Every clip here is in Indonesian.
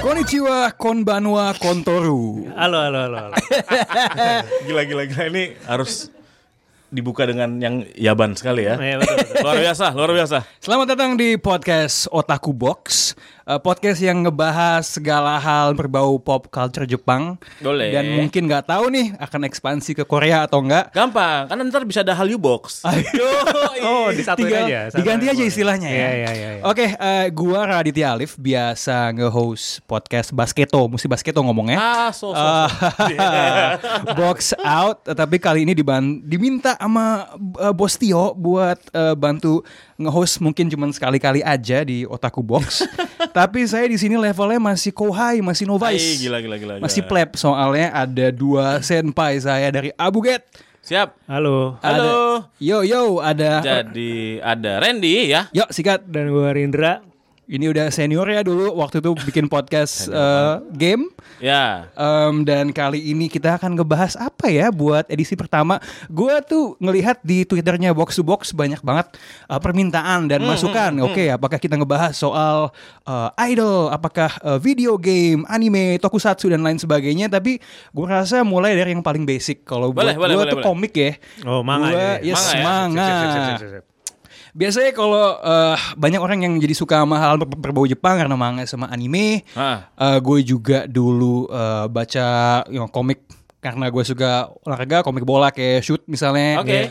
Konnichiwa, konbanwa, kontoru. Halo, halo, halo. halo. Gila gila gila ini harus dibuka dengan yang yaban sekali ya. Iya, betul, betul. Luar biasa, luar biasa. Selamat datang di podcast Otaku Box, eh, podcast yang ngebahas segala hal berbau pop culture Jepang. Boleh. Dan mungkin nggak tahu nih akan ekspansi ke Korea atau enggak. Gampang, karena ntar bisa ada Hallyu Box. iya. Oh, disatuin Tinggal aja. satuin diganti aja semuanya. istilahnya ya. Iya, iya, iya. iya. Oke, eh, gua Raditya Alif biasa nge-host podcast Basketo, mesti Basketo ngomongnya. Ah, so, so, so. Ah, box out tapi kali ini diban diminta sama uh, Bos Tio buat uh, bantu nge-host mungkin cuman sekali-kali aja di Otaku Box. tapi saya di sini levelnya masih kohai, masih novice. Hai, gila, gila, gila, Masih gila. pleb soalnya ada dua senpai saya dari Abuget. Siap. Halo. Ada- Halo. yo yo ada Jadi ada Randy ya. Yo sikat. Dan gue Rindra. Ini udah senior ya dulu waktu itu bikin podcast uh, game. Ya. Em, dan kali ini kita akan ngebahas apa ya buat edisi pertama. Gua tuh ngelihat di twitternya box to box banyak banget eh, permintaan Hmm, dan masukan. Oke, apakah kita ngebahas soal eh, idol, apakah eh, video game, anime, tokusatsu dan lain sebagainya. Tapi gue rasa mulai dari yang paling basic. Kalau buat Boleh, boleh, gue boleh, tuh boleh. komik ya. Oh, manga. Gua- ya. yes, manga. Sip, sip, sip, sip, sip, sip. Biasanya kalau eh, banyak orang yang jadi suka sama hal ber- berbau Jepang karena manga sama anime. Ah. Eh, gue juga dulu eh, baca you know, komik karena gue suka olahraga komik bola kayak shoot misalnya eh, Oke.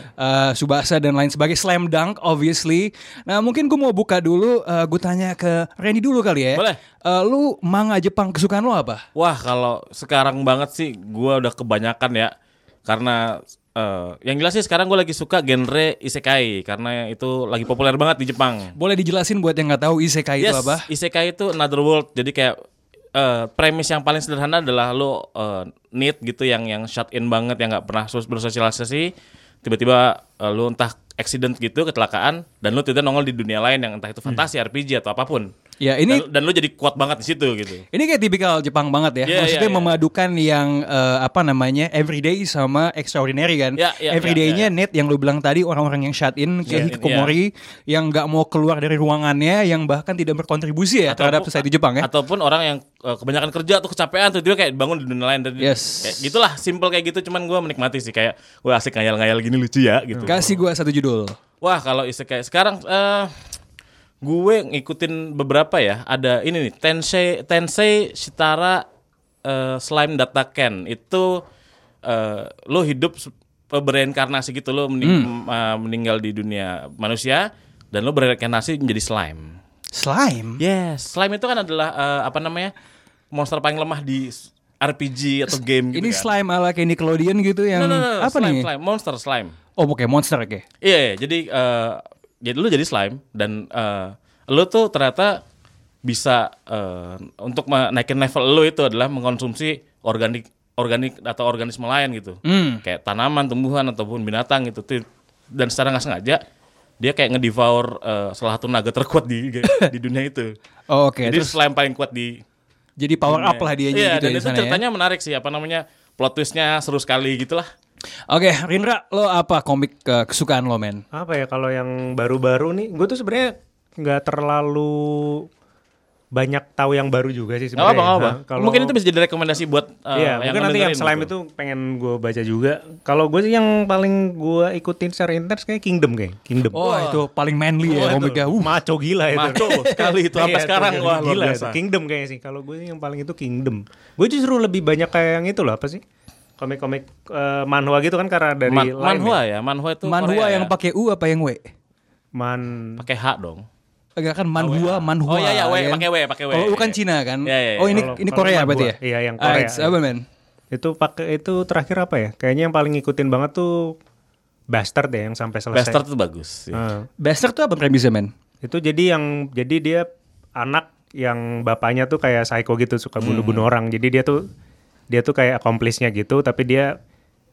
Subasa dan lain sebagainya slam dunk obviously nah mungkin gue mau buka dulu eh, gue tanya ke Randy dulu kali ya Boleh. Eh, lu manga Jepang kesukaan lo apa Wah, kalau sekarang banget sih gua udah kebanyakan ya. Karena eh, yang jelas sih sekarang gue lagi suka genre isekai karena itu lagi populer banget di Jepang. boleh dijelasin buat yang nggak tahu isekai itu Yes, apa isekai itu another world. Jadi kayak eh, premis yang paling sederhana adalah lo eh, need gitu yang yang shut in banget yang nggak pernah sos- bersosialisasi, tiba-tiba eh, lo entah accident gitu kecelakaan dan lo tiba-tiba nongol di dunia lain yang entah itu fantasi RPG atau apapun. Hmm. ya ini dan, dan lo jadi kuat banget di situ gitu. Ini kayak tipikal Jepang banget ya. Iya, Maksudnya iya, iya. memadukan yang eh, apa namanya everyday sama extraordinary kan. Iya, iya, Everyday-nya iya, net yang lu bilang tadi orang-orang yang shut in Shut in, kayak hikikomori yang nggak mau keluar dari ruangannya yang bahkan tidak berkontribusi ya terhadap society Jepang ya. Ataupun orang yang eh, kebanyakan kerja atau kecapean tuh dia kayak bangun di dunia lain dan Yes. kayak gitulah simple kayak gitu cuman gua menikmati sih kayak wah asik ngayal-ngayal gini lucu ya gitu. Kasih gua satu judul. Wah kalau isekai sekarang eh gue ngikutin beberapa ya. Ada ini nih Tensei Tensei Shitara eh, Slime Data Ken itu eh, lo hidup se- eh, bereinkarnasi gitu lo mening- Hmm. eh, meninggal di dunia manusia dan lo bereinkarnasi menjadi slime. Slime. Yes, slime itu kan adalah eh, apa namanya monster paling lemah di s- RPG atau game gitu Ini kan. slime ala kayak Nickelodeon gitu yang No, no, no, no, apa slime, nih? slime, monster slime. Oh, oke monster oke. Iya, iya, jadi eh jadi lu jadi slime dan eh lu tuh ternyata bisa eh, untuk naikin level lu itu adalah mengkonsumsi organik organik atau organisme lain gitu. Hmm. Kayak tanaman, tumbuhan ataupun binatang gitu. Tuh, Dan secara nggak sengaja dia kayak ngedevour eh, salah satu naga terkuat di di dunia itu. Oh, oke. jadi Terus slime paling kuat di jadi power up lah dia Iya, gitu dan ya di itu sana ya. ceritanya menarik sih apa namanya? Plot twistnya seru sekali gitu lah. Oke, Rindra, lo apa komik eh, kesukaan lo, men? Apa ya kalau yang baru-baru nih, gue tuh sebenarnya nggak terlalu banyak tahu yang baru juga Gak sih ya? sebenarnya. apa-apa, Nah, gak apa Mungkin itu bisa jadi rekomendasi buat eh, Iya, mungkin nanti yang ngedengerin slime gitu. itu pengen gue baca juga. Kalau gue sih yang paling gue ikutin secara intens kayak Kingdom kayak Kingdom. Oh, itu paling manly ya Wah, itu komiknya. Uh, maco gila itu. iya. Uh, Maco sekali itu, sampai Iya, sekarang. Wah, luar gila biasa. itu. Kingdom kayaknya sih. Kalau gue sih yang paling itu Kingdom. Gue justru lebih banyak kayak yang itu loh apa sih? Komik-komik eh, manhwa gitu kan karena dari Man- Line manhwa ya, ya. manhwa itu Manhua Korea yang ya. pakai U apa yang W? Man Pakai H dong. Agak kan manhua, manhua. Oh iya iya, W, kan? pakai W, pakai W. Oh, bukan Cina kan? Iya, iya, Oh, ini Kalau- ini kalau Korea manhua. berarti ya? Iya, yang Ah, Korea. it's- apa, men? itu pakai itu terakhir apa ya? Kayaknya yang paling ngikutin banget tuh Bastard ya yang sampai selesai. Bastard tuh bagus. ya. Nah, Bastard tuh apa premisnya, men? itu jadi yang jadi dia anak yang bapaknya tuh kayak psycho gitu suka Hmm. bunuh-bunuh orang. Jadi dia tuh dia tuh kayak accomplice-nya gitu tapi dia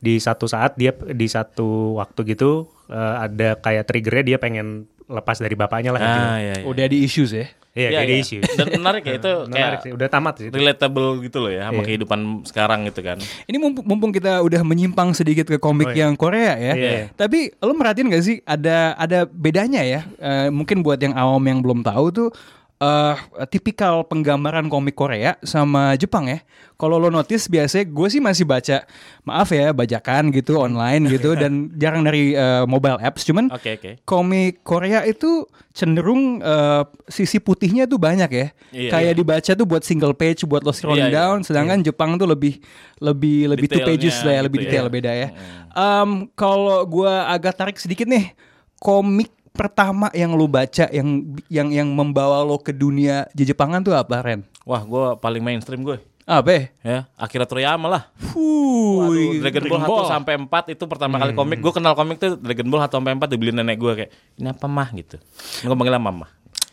di satu saat dia di satu waktu gitu eh, ada kayak triggernya dia pengen lepas dari bapaknya lah intinya. Ah, iya, iya. Udah di issues ya. Iya, Iya, jadi iya. issue. Dan menarik ya itu Menarik sih, kayak udah tamat sih. itu. relatable gitu loh ya sama Iya. kehidupan sekarang gitu kan. Ini mumpung, mumpung kita udah menyimpang sedikit ke komik Oh, iya. yang Korea ya. Iya. Tapi lo merhatiin gak sih ada ada bedanya ya? Eh, mungkin buat yang awam yang belum tahu tuh eh tipikal penggambaran komik Korea sama Jepang ya. Kalau lo notice biasanya gue sih masih baca maaf ya bajakan gitu online gitu dan jarang dari eh, mobile apps cuman Oke, oke. komik Korea itu cenderung eh, sisi putihnya tuh banyak ya. Iya, Kayak dibaca tuh buat single page, buat lo scroll Iya, iya. down. Sedangkan Jepang tuh lebih lebih lebih two Detailnya pages lah ya, gitu lebih ya. detail beda ya. Em, Kalau gua agak tarik sedikit nih, komik pertama yang lo baca yang yang yang membawa lo ke dunia Jepangan tuh apa Ren? Wah, gua paling mainstream gue. Apa? ya? Ya, Akira Toriyama lah. Fuh, Waduh, Dragon Ball 1 sampai 4 itu pertama kali Hmm. komik. Gue kenal komik tuh Dragon Ball 1 sampai 4 dibeli nenek gue kayak, "Ini apa mah?" gitu. Gue panggilnya mama.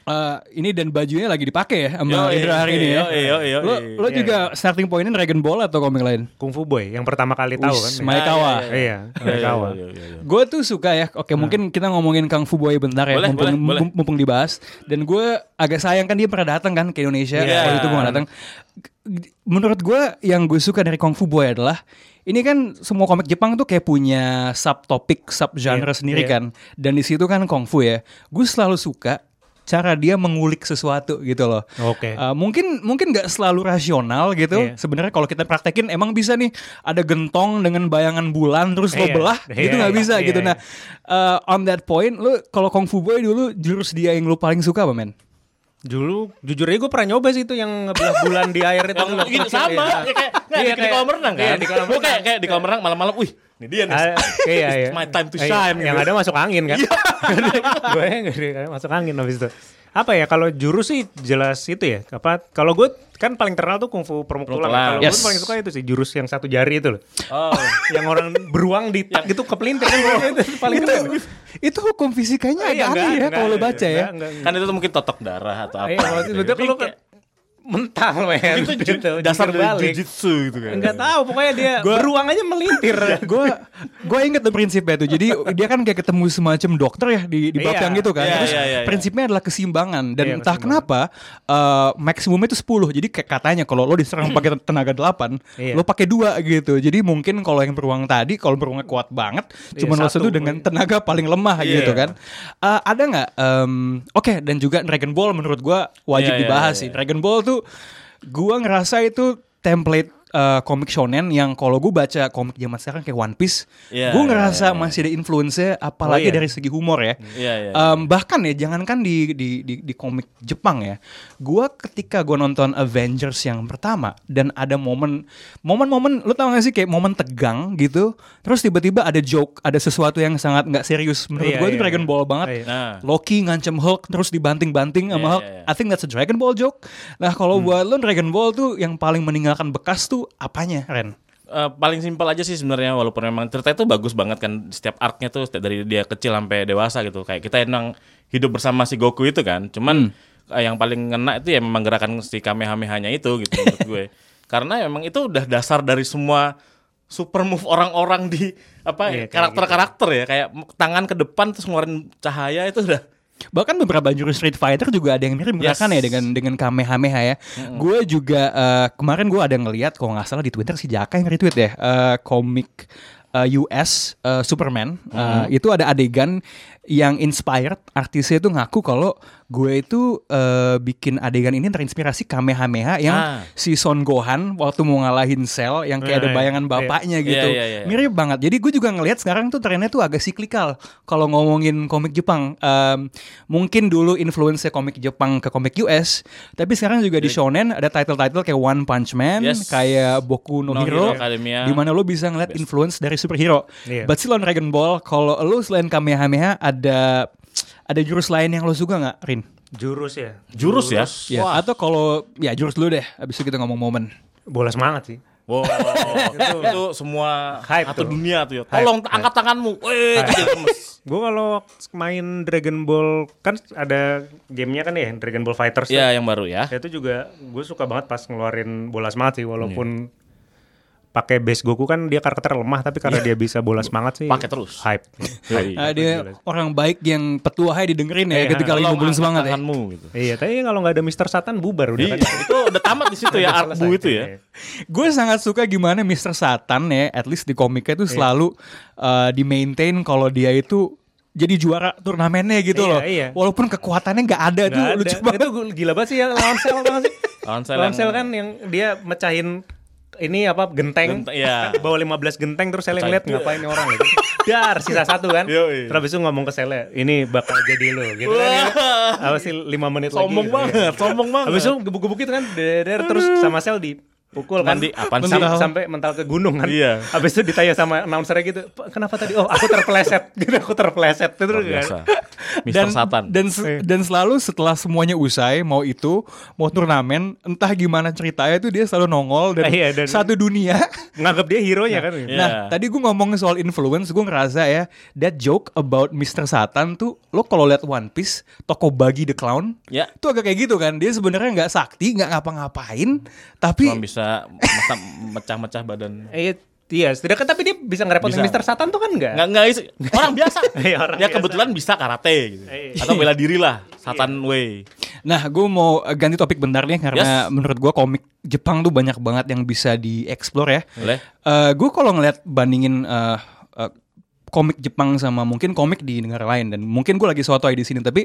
Eh, ini dan bajunya lagi dipakai ya sama Yoi, Indra hari ini ya. yoi, yoi, yoi. Lo, lo juga starting pointnya Dragon Ball atau komik lain? Kung Fu Boy yang pertama kali tahu kan. Wis, Maekawa. Iya, mereka awal. Iya, iya, iya. Hmm. Gue tuh suka ya. Oke, mungkin kita ngomongin Kang Fu Boy bentar ya, Boleh, mumpung, boleh, boleh. mum- mumpung dibahas. Dan gue agak sayang kan dia pernah datang kan ke Indonesia. Iya. Waktu itu gue gak datang. G- Menurut gue yang gue suka dari Kung Fu Boy adalah ini kan semua komik Jepang tuh kayak punya subtopik, subgenre Iya, sendiri iya. kan. Dan di situ kan Kung Fu ya. Gue selalu suka cara dia mengulik sesuatu gitu loh. Oke. Uh, mungkin mungkin nggak selalu rasional gitu. Iya. Sebenarnya kalau kita praktekin emang bisa nih ada gentong dengan bayangan bulan terus lo Iya. belah Iya, gitu nggak iya, bisa iya, gitu. iya. Nah, uh, on that point lu kalau Kung Fu Boy dulu jurus dia yang lu paling suka apa men? Dulu jujur aja gue pernah nyoba sih itu yang ngebelah bulan di air itu. Yang dulu. gitu sama Oh, Iya. kayak kayak Iya, di- di kolam renang kan. Iya, di kolam Gua kayak kayak di kolam renang malam-malam, "Wih, ini dia nih." Ah, iya, iya. It's my time to Iya, shine, Yang gitu. ada masuk angin kan. gue masuk angin habis itu. Apa ya kalau jurus sih jelas itu ya. Apa kalau gue kan paling terkenal tuh kungfu permuk Permuk tulang. tulang. kan. Kalau Yes. gue paling suka itu sih jurus yang satu jari itu loh. Oh. yang orang beruang di tak gitu kepelintir kan gua- itu paling Gitu. itu, keren. itu hukum fisikanya agak Iya, enggak, aneh ya enggak, kalau lo enggak, baca ya. enggak, enggak, enggak. Kan itu tuh mungkin totok darah atau apa. Iya, kalau gitu. itu Tapi kalau kayak- mental men. Gitu, itu ju- dasar dari jujitsu gitu kan. Enggak tahu pokoknya dia beruang aja melintir. Gue gue inget tuh prinsipnya tuh. Jadi dia kan kayak ketemu semacam dokter ya di di bab Iya. yang gitu kan. Iya, Terus iya, iya, iya. prinsipnya adalah kesimbangan dan Iya, entah kenapa eh, maksimumnya itu 10. Jadi kayak katanya kalau lo diserang pakai tenaga 8, Iya. lo pakai dua gitu. Jadi mungkin kalau yang beruang tadi kalau beruangnya kuat banget, Iya, cuman lo satu. sentuh dengan tenaga paling lemah Iya. gitu kan. Eh, ada nggak? em, Oke dan juga Dragon Ball menurut gue wajib Iya, iya, dibahas iya, sih. iya. Dragon Ball tuh gua ngerasa itu template uh, komik shonen yang kalau gue baca komik zaman sekarang kayak One Piece, Iya, gue iya, ngerasa iya. masih ada influence-nya apalagi Oh, iya. dari segi humor ya. Iya, iya. Um, bahkan ya jangankan di di di, di komik Jepang ya. Gua ketika gue nonton Avengers yang pertama dan ada momen momen-momen lu tau gak sih kayak momen tegang gitu. Terus tiba-tiba ada joke, ada sesuatu yang sangat nggak serius menurut Iya, gue itu iya, Dragon iya. Ball banget. Iya. Nah. Loki ngancem Hulk terus dibanting-banting sama Iya, Hulk. iya, iya. I think that's a Dragon Ball joke. Nah, kalau buat lo Dragon Ball tuh yang paling meninggalkan bekas tuh apanya, Ren? Eh, paling simpel aja sih sebenarnya walaupun memang cerita itu bagus banget kan setiap arc-nya tuh setiap dari dia kecil sampai dewasa gitu kayak kita emang hidup bersama si Goku itu kan cuman Hmm. eh, yang paling ngena itu ya memang gerakan si Kamehameha-nya itu gitu menurut gue karena memang itu udah dasar dari semua super move orang-orang di apa Iya, kayak karakter-karakter ya kayak m- tangan ke depan terus ngeluarin cahaya itu udah Bahkan beberapa jurus Street Fighter juga ada yang mirip Yes. menggunakan ya dengan dengan Kamehameha ya. Gue juga eh, kemarin gue ada ngelihat kalau nggak salah di Twitter si Jaka yang retweet ya eh, komik eh, US eh, Superman Eh, itu ada adegan yang inspired artisnya itu ngaku kalau gue itu eh, bikin adegan ini terinspirasi Kamehameha yang Ah. si Son Gohan waktu mau ngalahin Cell yang kayak Iya, ada iya. bayangan Iya. bapaknya gitu. Iya, iya, iya. Mirip banget. Jadi gue juga ngelihat sekarang tuh trennya tuh agak siklikal kalau ngomongin komik Jepang. Em, mungkin dulu influence komik Jepang ke komik US, tapi sekarang juga di shonen ada title-title kayak One Punch Man, Yes. kayak Boku no, No Hero, Hero Academia. di mana lo bisa ngeliat influence dari superhero. Iya. But still on Dragon Ball, kalau lo selain Kamehameha ada ada jurus lain yang lo suka nggak, Rin? Jurus ya. Jurus ya? Ya, atau kalau ya jurus dulu deh, abis itu kita ngomong momen. Bola semangat sih. Wow, itu, itu semua Hype satu tuh. dunia tuh ya. Hype, Tolong angkat tanganmu. Eh, itu dia lemes. Gue kalau main Dragon Ball kan ada gamenya kan ya Dragon Ball Fighters. tuh. ya yang baru ya. Ya, Itu juga gue suka banget pas ngeluarin bola semangat sih walaupun pakai base Goku kan dia karakter lemah tapi karena dia bisa bola semangat sih. Pakai terus. Hype. Yoi. Ah, dia orang baik yang petuahai didengerin ya Iya, ketika lagi Tolong ngumpulin angkat semangat ya. Tanganmu gitu. iya, tapi kalau nggak ada Mister Satan bubar udah Iya, kan. itu udah tamat di situ ya art bu itu ya. Gue sangat suka gimana Mr. Satan ya, at least di komiknya Iya. itu selalu uh, di maintain kalau dia itu jadi juara turnamennya gitu Iya, loh. iya. Walaupun kekuatannya nggak ada Nggak tuh ada. lucu banget. Itu gua- gila banget sih ya lawan sel banget sih. Lawan sel Lawan yang- sel kan yang dia mecahin ini apa genteng. Genteng, iya. Bawa 15 genteng terus selnya Mecahin. ngeliat ngapain ini orang gitu. Dar sisa satu kan. Yoi. Terus habis itu ngomong ke selnya, ini bakal jadi lo gitu kan. ya. Apa sih 5 menit lagi. Sombong gitu ya. banget, sombong banget. Habis itu gebuk-gebuk itu kan der, der, terus sama sel dipukul kan Mandi, apaan Sam- sih? sampai mental ke gunung kan Iya. habis itu ditanya sama announcernya gitu "Pak, kenapa tadi oh aku terpeleset gitu aku terpeleset Luar terus kan biasa. Mister Satan. dan se- Iya. dan selalu setelah semuanya usai mau itu mau turnamen entah gimana ceritanya itu dia selalu nongol dan, Ah, iya, dan- satu dunia nganggap dia hero nya kan Iya. nah tadi gue ngomong soal influence gue ngerasa ya that joke about Mr. Satan tuh lo kalau lihat One Piece toko bagi the clown Ya. tuh agak kayak gitu kan dia sebenarnya nggak sakti nggak ngapa-ngapain tapi Cuma bisa masa- mecah-mecah badan. Iya, iya. Setidaknya tapi dia bisa Bisa. ngerepotin Mister Satan tuh kan enggak? Nggak nggak isi- orang biasa. Iya, orang ya biasa. kebetulan bisa karate gitu. Iya. Atau bela diri lah, Satan way. Nah, gue mau eh, ganti topik bentar nih karena Yes. menurut gue komik Jepang tuh banyak banget yang bisa dieksplor ya. Boleh. gue kalau ngeliat bandingin eh, eh, komik Jepang sama mungkin komik di negara lain dan mungkin gue lagi sotoy di sini tapi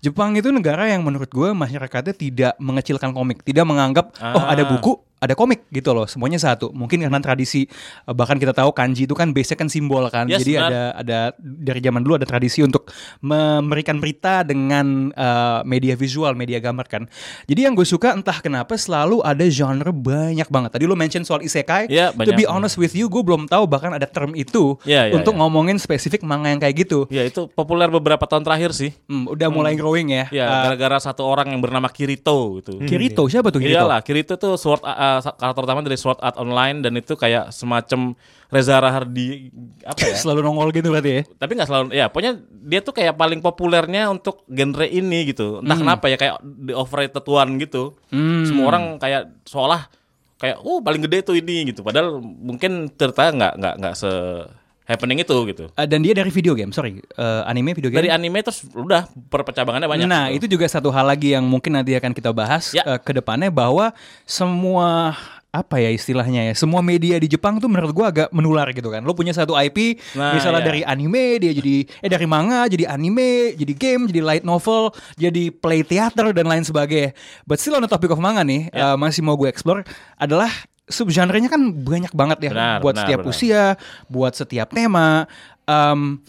Jepang itu negara yang menurut gue masyarakatnya tidak mengecilkan komik, tidak menganggap oh ada Ah. buku ada komik gitu loh semuanya satu mungkin karena tradisi eh, bahkan kita tahu kanji itu kan basic kan simbol kan Yes, jadi benar. ada ada dari zaman dulu ada tradisi untuk memberikan berita dengan eh, media visual media gambar kan jadi yang gue suka entah kenapa selalu ada genre banyak banget tadi lo mention soal isekai Iya, to be banyak. honest with you gue belum tahu bahkan ada term itu Iya, iya, untuk iya. ngomongin spesifik manga yang kayak gitu Ya itu populer beberapa tahun terakhir sih. Hmm, udah mulai growing ya, Ya, Eh, gara-gara satu orang yang bernama Kirito gitu. Hmm. Kirito siapa tuh Kirito Iyalah, Kirito tuh sword uh, uh, karakter utama dari Sword Art Online dan itu kayak semacam Reza Rahardi apa ya? selalu nongol gitu berarti ya Tapi nggak selalu ya, pokoknya dia tuh kayak paling populernya untuk genre ini gitu. Hmm. Entah kenapa ya kayak the overrated one gitu. Semua orang kayak seolah kayak oh paling gede tuh ini gitu. Padahal mungkin cerita nggak nggak nggak se happening itu gitu. Eh, dan dia dari video game sorry Eh, anime video game Dari anime terus udah perpecabangannya banyak. Nah, gitu. itu juga satu hal lagi yang mungkin nanti akan kita bahas Ya. eh, ke depannya bahwa semua apa ya istilahnya ya, semua media di Jepang tuh menurut gua agak menular gitu kan. Lo punya satu IP, Nah, misalnya iya. dari anime dia jadi eh dari manga jadi anime, jadi game, jadi light novel, jadi play theater dan lain sebagainya. But still on the topic of manga nih, Ya. eh, masih mau gue explore adalah subgenrenya kan banyak banget ya Benar, buat benar, setiap benar. usia, buat setiap tema. Em,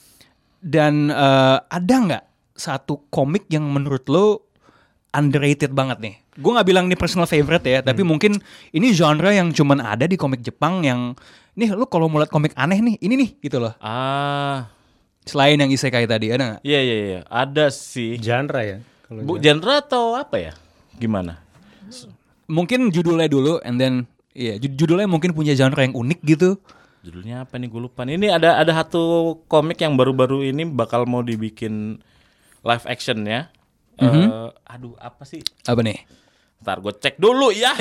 dan eh, ada nggak satu komik yang menurut lo underrated banget nih? Gue nggak bilang ini personal favorite ya, tapi Hmm. mungkin ini genre yang cuman ada di komik Jepang yang nih lo kalau mau liat komik aneh nih, ini nih gitu loh. Ah, Selain yang isekai tadi ada nggak? iya iya iya, ada sih. Genre ya. Kalau Bu, genre atau apa ya? Gimana? Mungkin judulnya dulu, and then ya judulnya mungkin punya genre yang unik gitu. Judulnya apa nih gue lupa. nih. Ini ada ada satu komik yang baru-baru ini bakal mau dibikin live action ya. Eh, aduh apa sih? Apa nih? Ntar gue cek dulu ya.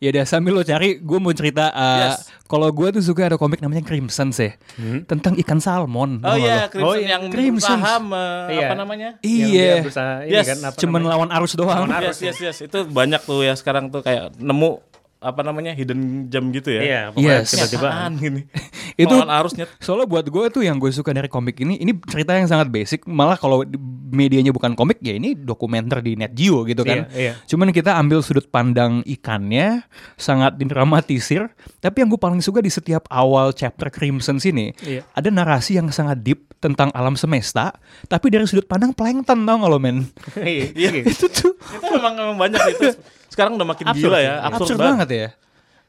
ya udah sambil lo cari, gue mau cerita. uh, Yes. Hmm. Kalau gue tuh suka ada komik namanya Crimson sih, tentang ikan salmon. Tau Oh nggak iya, lo? Crimson Oh, iya. yang Crimson. berusaha me- Iya. apa namanya? yang iya. Dia berusaha ini Yes, kan apa Cuman namanya? lawan arus doang. Yes, yes, yes. Itu banyak tuh ya sekarang tuh kayak nemu apa namanya hidden gem gitu ya. Iya, pokoknya Yes. tiba-tiba. Apaan gini. Itu- Itu arusnya Soalnya buat gue tuh yang gue suka dari komik ini, ini cerita yang sangat basic. Malah kalau di- medianya bukan komik ya ini dokumenter di Net Geo gitu kan. Iya, iya. Cuman kita ambil sudut pandang ikannya, sangat didramatisir. Tapi yang gue paling suka di setiap awal chapter Crimson sini, Iya. ada narasi yang sangat deep tentang alam semesta. Tapi dari sudut pandang plankton tau gak lo men? Iya, iya. Itu tuh itu emang emang banyak itu sekarang udah makin absurd, gila ya absurd, absurd banget. ya.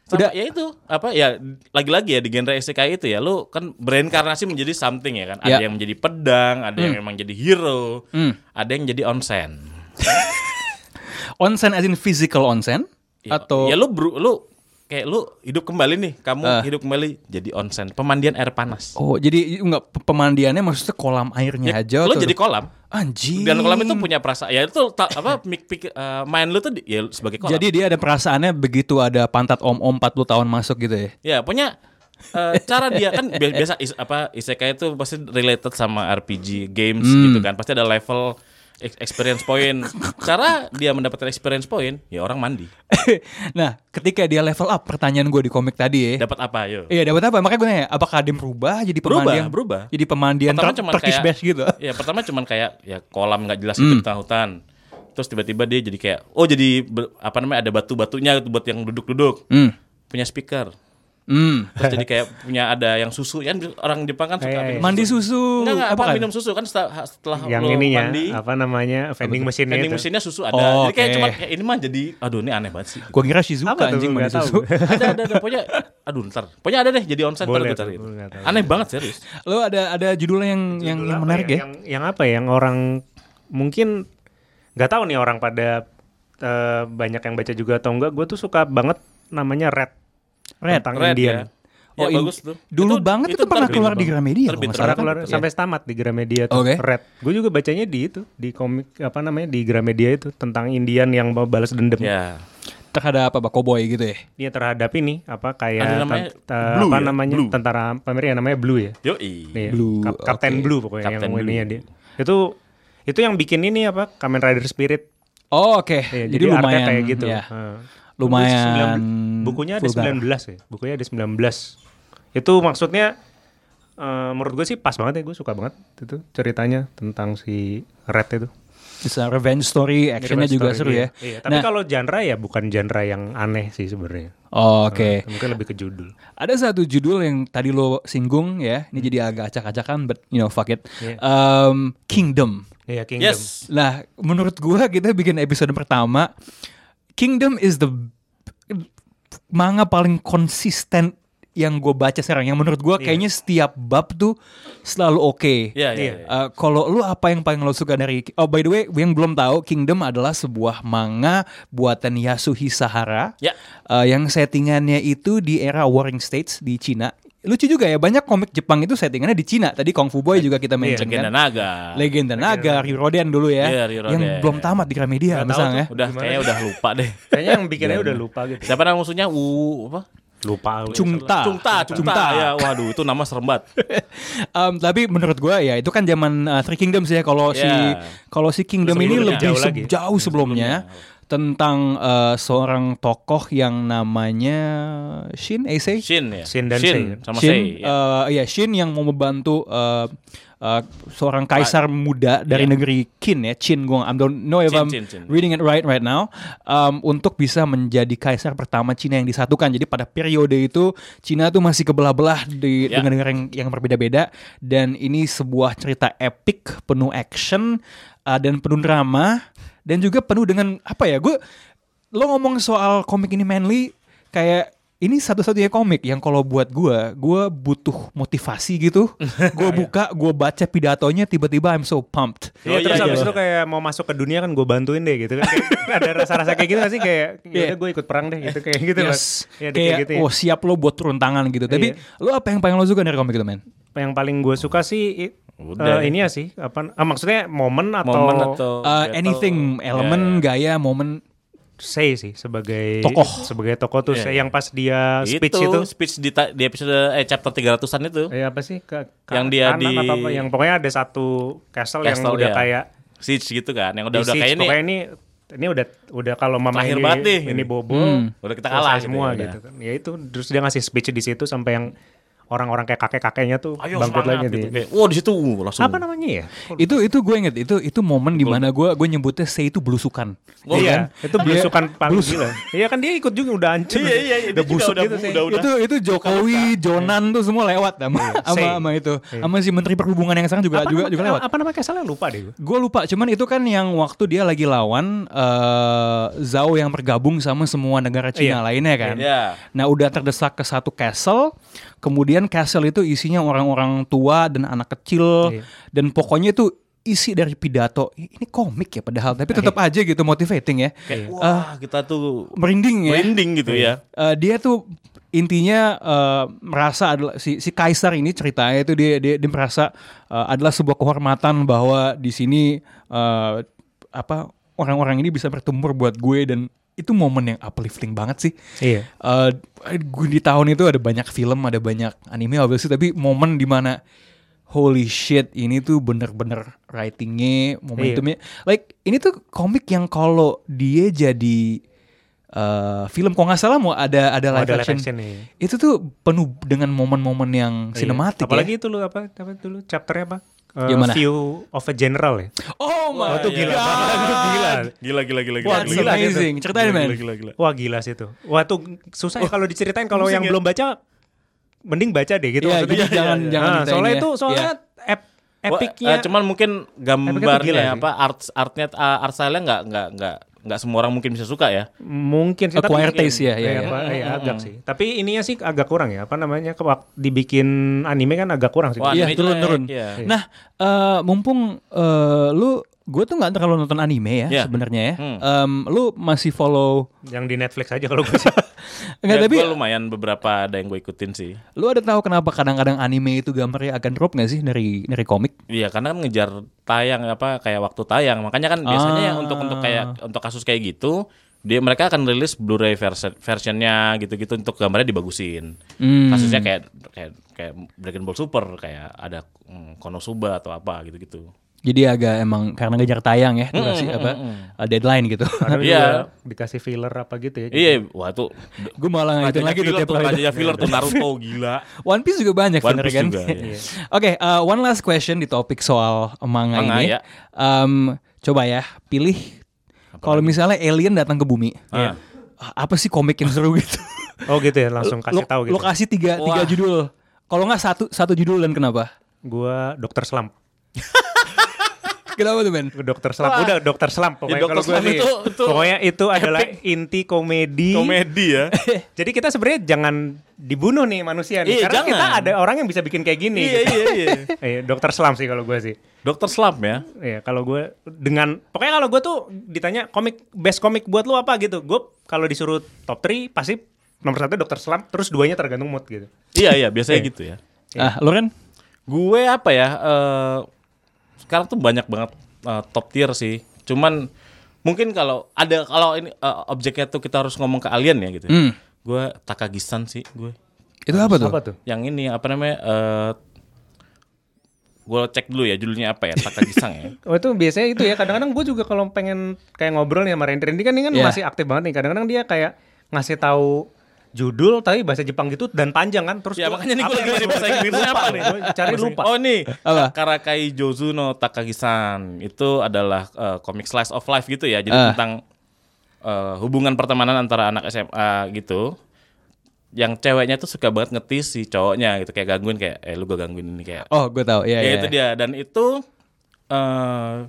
Sama, Udah. ya itu apa ya lagi-lagi ya di genre SCK itu ya lu kan bereinkarnasi menjadi something ya kan ada Ya. yang menjadi pedang ada yang memang jadi hero Hmm. ada yang jadi onsen Onsen as in physical onsen Ya, atau ya lu bro lu kayak lu hidup kembali nih kamu Ah. hidup kembali jadi onsen pemandian air panas Oh, jadi enggak pe- pemandiannya maksudnya kolam airnya aja lu atau- Ya, jadi kolam anjing. dan kolam itu punya perasaan ya itu ta- apa mik pik, eh, main lu tuh di- ya sebagai kolam Jadi dia ada perasaannya begitu ada pantat om-om 40 tahun masuk gitu ya. Ya, punya eh, cara dia kan bi- biasa is- apa isekai itu pasti related sama RPG games gitu kan. Pasti ada level ex- experience point. Cara dia mendapatkan experience point, ya orang mandi. nah, ketika dia level up pertanyaan gue di komik tadi ya. Dapat apa yo? Iya, dapat apa? Makanya gue nanya, apakah dia berubah jadi Berubah, pemandian? berubah. Jadi pemandian Pertama ter- cuman Turkish kayak- bash gitu. Ya, pertama cuman kayak ya kolam nggak jelas gitu di hutan. Terus tiba-tiba dia jadi kayak oh jadi ber- apa namanya ada batu-batunya gitu buat yang duduk-duduk. Hmm. Punya speaker. Hmm. Terus jadi kayak punya ada yang susu kan orang Jepang kan suka Iya, iya. minum Mandi susu. susu. Enggak, enggak, apa, bukan? minum susu kan setelah, setelah yang lo ininya mandi. apa namanya vending mesinnya vending itu. mesinnya susu ada. Oh, jadi kayak oke. cuma ya ini mah jadi aduh ini aneh banget sih. Gue kira Shizuka Apa tuh? anjing mandi Nggak tahu. susu. ada ada ada pokoknya aduh ntar. Pokoknya ada deh jadi onsen ntar Boleh gue cari. tuh, boleh, nggak tahu. Aneh banget serius. Lo ada ada judulnya yang yang, Judul yang apa menarik ya? Yang, yang apa ya? Yang orang mungkin nggak tahu nih orang pada eh, banyak yang baca juga atau enggak. Gue tuh suka banget namanya Red. Red, tentang Red Indian. ya. Ya, in- bagus tuh. Dulu banget itu, pernah terbit, keluar di Bang. Gramedia. Terbit, kalau nggak Pernah salah. terbit. keluar sampai tamat di Gramedia tuh Oke. Red. Gue juga bacanya di itu di komik apa namanya di Gramedia itu tentang Indian yang mau balas dendam. Ya. Terhadap apa Cowboy gitu ya? Dia terhadap ini apa kayak Ada namanya ten- eh, Blue apa ya? namanya Blue. tentara pemerintah namanya Blue ya. Yoi. Iya, Blue, Kap- Kapten oke. Blue pokoknya Kapten yang Blue. ininya dia. Itu itu yang bikin ini apa Kamen Rider Spirit. Oh, oke. Iya, jadi, artnya lumayan kayak gitu. iya. ya. Heeh. Lumayan 19 bukunya ada vulgar. 19 ya. Bukunya ada 19. Itu maksudnya eh, menurut gue sih pas banget ya, gue suka banget itu ceritanya tentang si Red itu. Bisa revenge story, actionnya Revenge juga story, seru ya. iya. Iya, tapi Nah, kalau genre ya bukan genre yang aneh sih sebenarnya. oh, oke. Mungkin lebih ke judul. Ada satu judul yang tadi lo singgung ya. Ini jadi agak acak-acakan, but you know fuck it. Hmm. Iya. Um, Kingdom. Iya, Kingdom. Yes. Nah, menurut gua kita bikin episode pertama, Kingdom is the manga paling konsisten yang gue baca sekarang. Yang menurut gua kayaknya setiap bab tuh selalu oke. Iya, iya. Iya. iya. Eh, kalau lu apa yang paling lo suka dari Oh by the way, yang belum tahu Kingdom adalah sebuah manga buatan Yasuhi Sahara. Ya. Eh, yang settingannya itu di era Warring States di Cina. Lucu juga ya, banyak komik Jepang itu settingannya di Cina. Tadi Kung Fu Boy juga kita mention Iya, Legenda kan. naga. Legenda Naga, Ryuroden dulu ya. Iya, Ryuroden. Yang belum tamat di Gramedia Nggak tahu misalnya. Udah kayaknya udah lupa deh. Kayaknya yang bikinnya udah lupa gitu. Iya, Siapa nama musuhnya? Wu apa? Lupa. Cungta. Cungta, Cungta. Ya, waduh itu nama serem banget. Em, tapi menurut gua ya itu kan zaman uh, Three Kingdoms ya kalau si Yeah. kalau si Kingdom ini Sebelumnya. lebih Jauh se- lagi. jauh sebelumnya tentang eh, seorang tokoh yang namanya Eh, Shin Eisei. Shin ya. Shin dan Sei. sama Shin, Sei. ya. eh, ya Shin yang mau membantu eh, eh, seorang kaisar muda dari negeri Qin ya, Qin gua I don't know if Iya. Qin, I'm Qin, Qin. reading it right right now, em, untuk bisa menjadi kaisar pertama Cina yang disatukan. Jadi pada periode itu Cina tuh masih kebelah-belah di Ya. dengan negara yang, yang berbeda-beda dan ini sebuah cerita epic penuh action eh, dan penuh drama dan juga penuh dengan apa ya? Gue lo ngomong soal komik ini mainly kayak ini satu-satunya komik yang kalau buat gua, gua butuh motivasi gitu. Gua buka, gua baca pidatonya tiba-tiba I'm so pumped. Oh, Iya terus iya, abis iya. itu kayak mau masuk ke dunia kan gue bantuin deh gitu kan Kayak ada rasa-rasa kayak gitu gak sih kayak Iya. yaudah gue ikut perang deh gitu kayak gitu Yes. Mas. Iya, ada kayak ya. oh siap lo buat turun tangan gitu. Tapi Iya. lo apa yang paling lo suka dari komik itu, men? yang paling gue suka sih i- Udah eh, deh. ini ya sih apa ah, maksudnya momen atau, Momen atau Oh, Uh, battle. anything, Iya, elemen, gaya, momen. say sih sebagai Tokoh. sebagai tokoh tuh Iya, Sei iya. yang pas dia itu, speech itu speech di, ta- di episode eh, chapter 300-an itu eh, apa sih ke, ke Yang dia kanan di- atau apa, yang pokoknya ada satu castle, yang Castle, udah iya. kayak siege gitu kan yang di udah udah siege. kayak ini pokoknya ini ini udah udah kalau mama Terakhir ini banget nih, ini gitu. bobo udah kita Selesai kalah semua ya, gitu kan. Ya itu terus dia ngasih speech di situ sampai yang orang-orang kayak kakek-kakeknya tuh Ayo bangkut semangat lagi gitu. gitu. Kayak, Wah di situ uh, langsung. Apa namanya ya? Itu itu gue inget itu itu momen di mana gue gue nyebutnya saya itu belusukan. Ya Wow. iya, kan? itu Dia- belusukan paling gila. Iya kan dia ikut juga udah Iya, hancur. iya, iya, dia udah juga busuk udah gitu bu- sih. udah- Itu itu Jokowi, Jonan tuh semua lewat sama sama, Say. Iya. sama itu. Sama si menteri perhubungan yang sekarang juga Apa juga nama- juga lewat. Apa namanya kayak salah lupa deh gue. Gue lupa, cuman itu kan yang waktu dia lagi lawan eh, Zhao yang bergabung sama semua negara Cina Iya. lainnya kan. Iya. Nah udah terdesak ke satu castle, kemudian castle itu isinya orang-orang tua dan anak kecil, Iya. dan pokoknya itu isi dari pidato. Ini komik ya padahal, tapi tetap aja gitu motivating ya. Kayak, Iya. Wah Ah. kita tuh Merinding ya. blending gitu ya. Eh, dia tuh intinya eh, merasa adalah si, si kaisar ini ceritanya itu dia dia, dia merasa eh, adalah sebuah kehormatan bahwa di sini eh, apa orang-orang ini bisa bertumur buat gue dan itu momen yang uplifting banget sih. Iya. Eh, gue di tahun itu ada banyak film, ada banyak anime obviously tapi momen dimana holy shit ini tuh bener-bener writingnya, momentumnya. Like ini tuh komik yang kalau dia jadi eh, film kalau nggak salah mau ada ada Oh, live, ada live action, action, iya. itu tuh penuh dengan momen-momen yang sinematik. ya. Apalagi itu lu apa apa dulu chapternya apa? Eh, Yang mana? View of a General ya. Oh my Wah, itu god. gila banget, itu iya. gila. Gila gila gila gila. Wah, gila, gila amazing. Ceritain, gila, man. gila, gila, gila. Wah gila sih itu. Wah tuh susah ya kalau diceritain kalau yang Pusing ya. belum baca mending baca deh gitu Iya, maksudnya. jadi jangan- jangan Ah, kita soalnya ini ya. itu soalnya ep- Wah, epicnya eh, cuman mungkin ya. gila sih. gambarnya apa art artnya eh, art style-nya nggak nggak nggak nggak semua orang mungkin bisa suka ya. mungkin sih Acquire mungkin- taste ya, ya, iya, ya. apa- iya, agak sih. Tapi ininya sih agak kurang ya. Apa namanya? ke- wak- dibikin anime kan agak kurang sih. Wah, Iya anime turun turun. jelek, iya. Nah eh, mumpung eh, lu gue tuh nggak terlalu nonton anime ya Iya. sebenarnya ya. Hmm. Em, lu masih follow Yang di Netflix aja kalau gue sih. Enggak Ya, tapi gua lumayan beberapa ada yang gue ikutin sih. lu ada tahu kenapa kadang-kadang anime itu gambarnya akan drop nggak sih dari dari komik? Iya karena kan ngejar tayang apa kayak waktu tayang makanya kan biasanya Ah. yang untuk untuk kayak untuk kasus kayak gitu dia mereka akan rilis Blu-ray versi- versionnya gitu-gitu untuk gambarnya dibagusin Hmm. kasusnya kayak kayak kayak Dragon Ball Super kayak ada mm, Konosuba atau apa gitu-gitu Jadi agak emang karena ngejar tayang ya durasi Hmm, apa uh, deadline gitu. Kadang Iya. juga dikasih filler apa gitu ya. iya wah itu gue malah ngaitin Nah, lagi tuh filler tiap tuh kali. rajanya filler tuh Naruto gila One Piece juga banyak One sebenarnya Piece kan. juga, iya. Oke, uh, one last question di topik soal manga Manga, ini. ya. Um, coba ya, pilih kalau misalnya alien datang ke bumi, Iya. Ah. apa sih komik yang seru gitu? Oh gitu ya, langsung kasih Lo- tahu gitu. Lo kasih tiga, tiga Wah. judul. Kalau nggak satu satu judul dan kenapa? Gua dokter selam. Kenapa tuh men? Dokter Slump. Udah Dokter Slump pokoknya Ya, Dokter kalau gue Slump sih. itu- itu pokoknya itu adalah inti komedi. komedi ya Jadi kita sebenarnya jangan dibunuh nih manusia nih Iya, karena jangan. kita ada orang yang bisa bikin kayak gini. iya gitu. iya iya Iya, Dokter Slump sih kalau gue sih. Dokter Slump ya Iya, kalau gue dengan pokoknya kalau gue tuh ditanya komik best komik buat lu apa gitu. Gue kalau disuruh top 3 pasti nomor satu Dokter Slump terus duanya tergantung mood gitu. iya iya biasanya gitu ya Ah, Iya. Loren? Gue apa ya? eh, sekarang tuh banyak banget eh, top tier sih. Cuman mungkin kalau ada kalau ini eh, objeknya tuh kita harus ngomong ke alien ya gitu. Hmm. Gue Takagisan sih gue. Itu apa tuh? Apa tuh? Yang ini apa namanya? eh gue cek dulu ya judulnya apa ya? Takagisan ya. Oh itu biasanya itu ya kadang-kadang gue juga kalau pengen kayak ngobrol nih sama Rendri ini kan ini kan Iya. masih aktif banget nih kadang-kadang dia kayak ngasih tahu judul tapi bahasa Jepang gitu dan panjang kan terus Ya gua, makanya nih gue apa lagi yang nyari bahasa gua- Inggrisnya lupa apa nih? nih, gua cari lupa Oh nih, Apa? Karakai Jozu no Takagisan. Itu adalah eh, komik slice of life gitu ya. Jadi Ah. tentang eh, hubungan pertemanan antara anak SMA gitu. Yang ceweknya tuh suka banget ngetis si cowoknya gitu kayak gangguin kayak eh lu gue gangguin ini kayak. Oh, gue tahu. Iya, ya iya. itu dia dan itu eh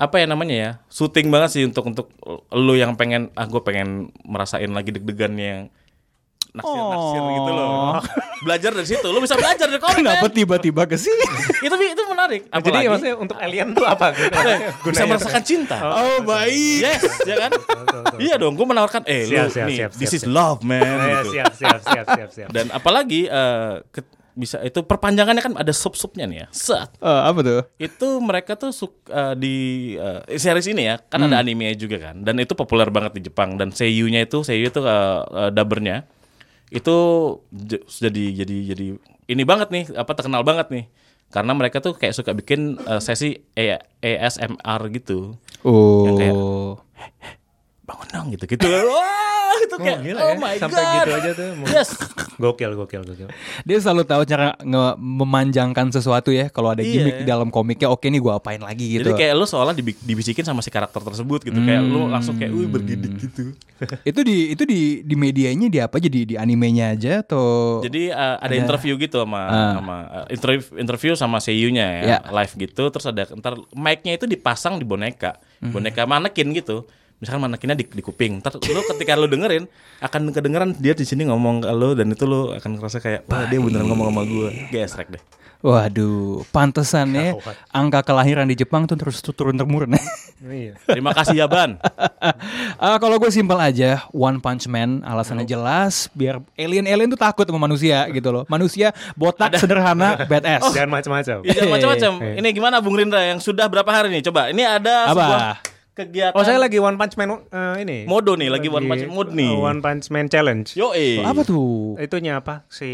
apa ya namanya ya? Syuting banget sih untuk untuk lu yang pengen ah gue pengen merasain lagi deg-degan yang naksir-naksir Oh. gitu loh. Belajar dari situ, lu bisa belajar dari komik. Kenapa men. tiba-tiba ke sini? itu itu menarik. jadi Apalagi maksudnya untuk alien tuh apa gitu Iya, bisa merasakan cinta. Oh, baik. Yes, ya kan? Iya dong, gue menawarkan, eh lu Siap, siap, nih, siap, this is siap, love man. Eh, gitu. siap siap siap siap siap Dan apalagi eh, ke- bisa itu perpanjangannya kan ada sub-subnya nih ya. Set. Eh, apa tuh? Itu mereka tuh suk- eh, di eh, series ini ya, kan Hmm. ada anime juga kan. Dan itu populer banget di Jepang dan seiyunya itu, seiyu itu eh, eh, dubbernya itu j- jadi jadi jadi ini banget nih, apa terkenal banget nih. Karena mereka tuh kayak suka bikin eh, sesi A- ASMR gitu. Oh. kayak, Bang bangun dong gitu gitu wah gitu kayak gila oh ya, my sampai god gitu aja tuh. yes Gokil, gokil, gokil. Dia selalu tahu cara nge- memanjangkan sesuatu ya kalau ada Iya. gimmick di dalam komiknya. Oke nih gue apain lagi gitu. jadi kayak lu seolah dibi- dibisikin sama si karakter tersebut gitu kayak lu langsung kayak wih bergidik Hmm. gitu itu di itu di di medianya di apa jadi di animenya aja atau Jadi uh, ada interview gitu sama sama uh, interview interview sama seiyunya Ya. ya, live gitu. Terus ada ntar mic-nya itu dipasang di boneka, boneka manekin gitu. Misalkan manekinnya di, di kuping. Ntar lu ketika lu dengerin akan kedengeran dia di sini ngomong ke lu dan itu lu akan ngerasa kayak wah dia beneran ngomong sama gua. Gesrek deh. Waduh, pantesan ya angka kelahiran di Jepang tuh terus turun temurun. Iya. Terima kasih ya, Yaban. Ah, kalau gue simpel aja, One Punch Man Oh. alasannya jelas biar alien-alien tuh takut sama manusia gitu loh. Manusia botak sederhana badass. Jangan macam-macam. Ya, jangan macam-macam. Ini gimana Bung Rindra yang sudah berapa hari nih? Coba. Ini Apa? ada sebuah kegiatan Oh saya lagi One Punch Man eh, ini. Modo nih, lagi One Punch Mode nih. eh, One Punch Man Challenge. Yo, eh. Apa tuh? Itunya apa si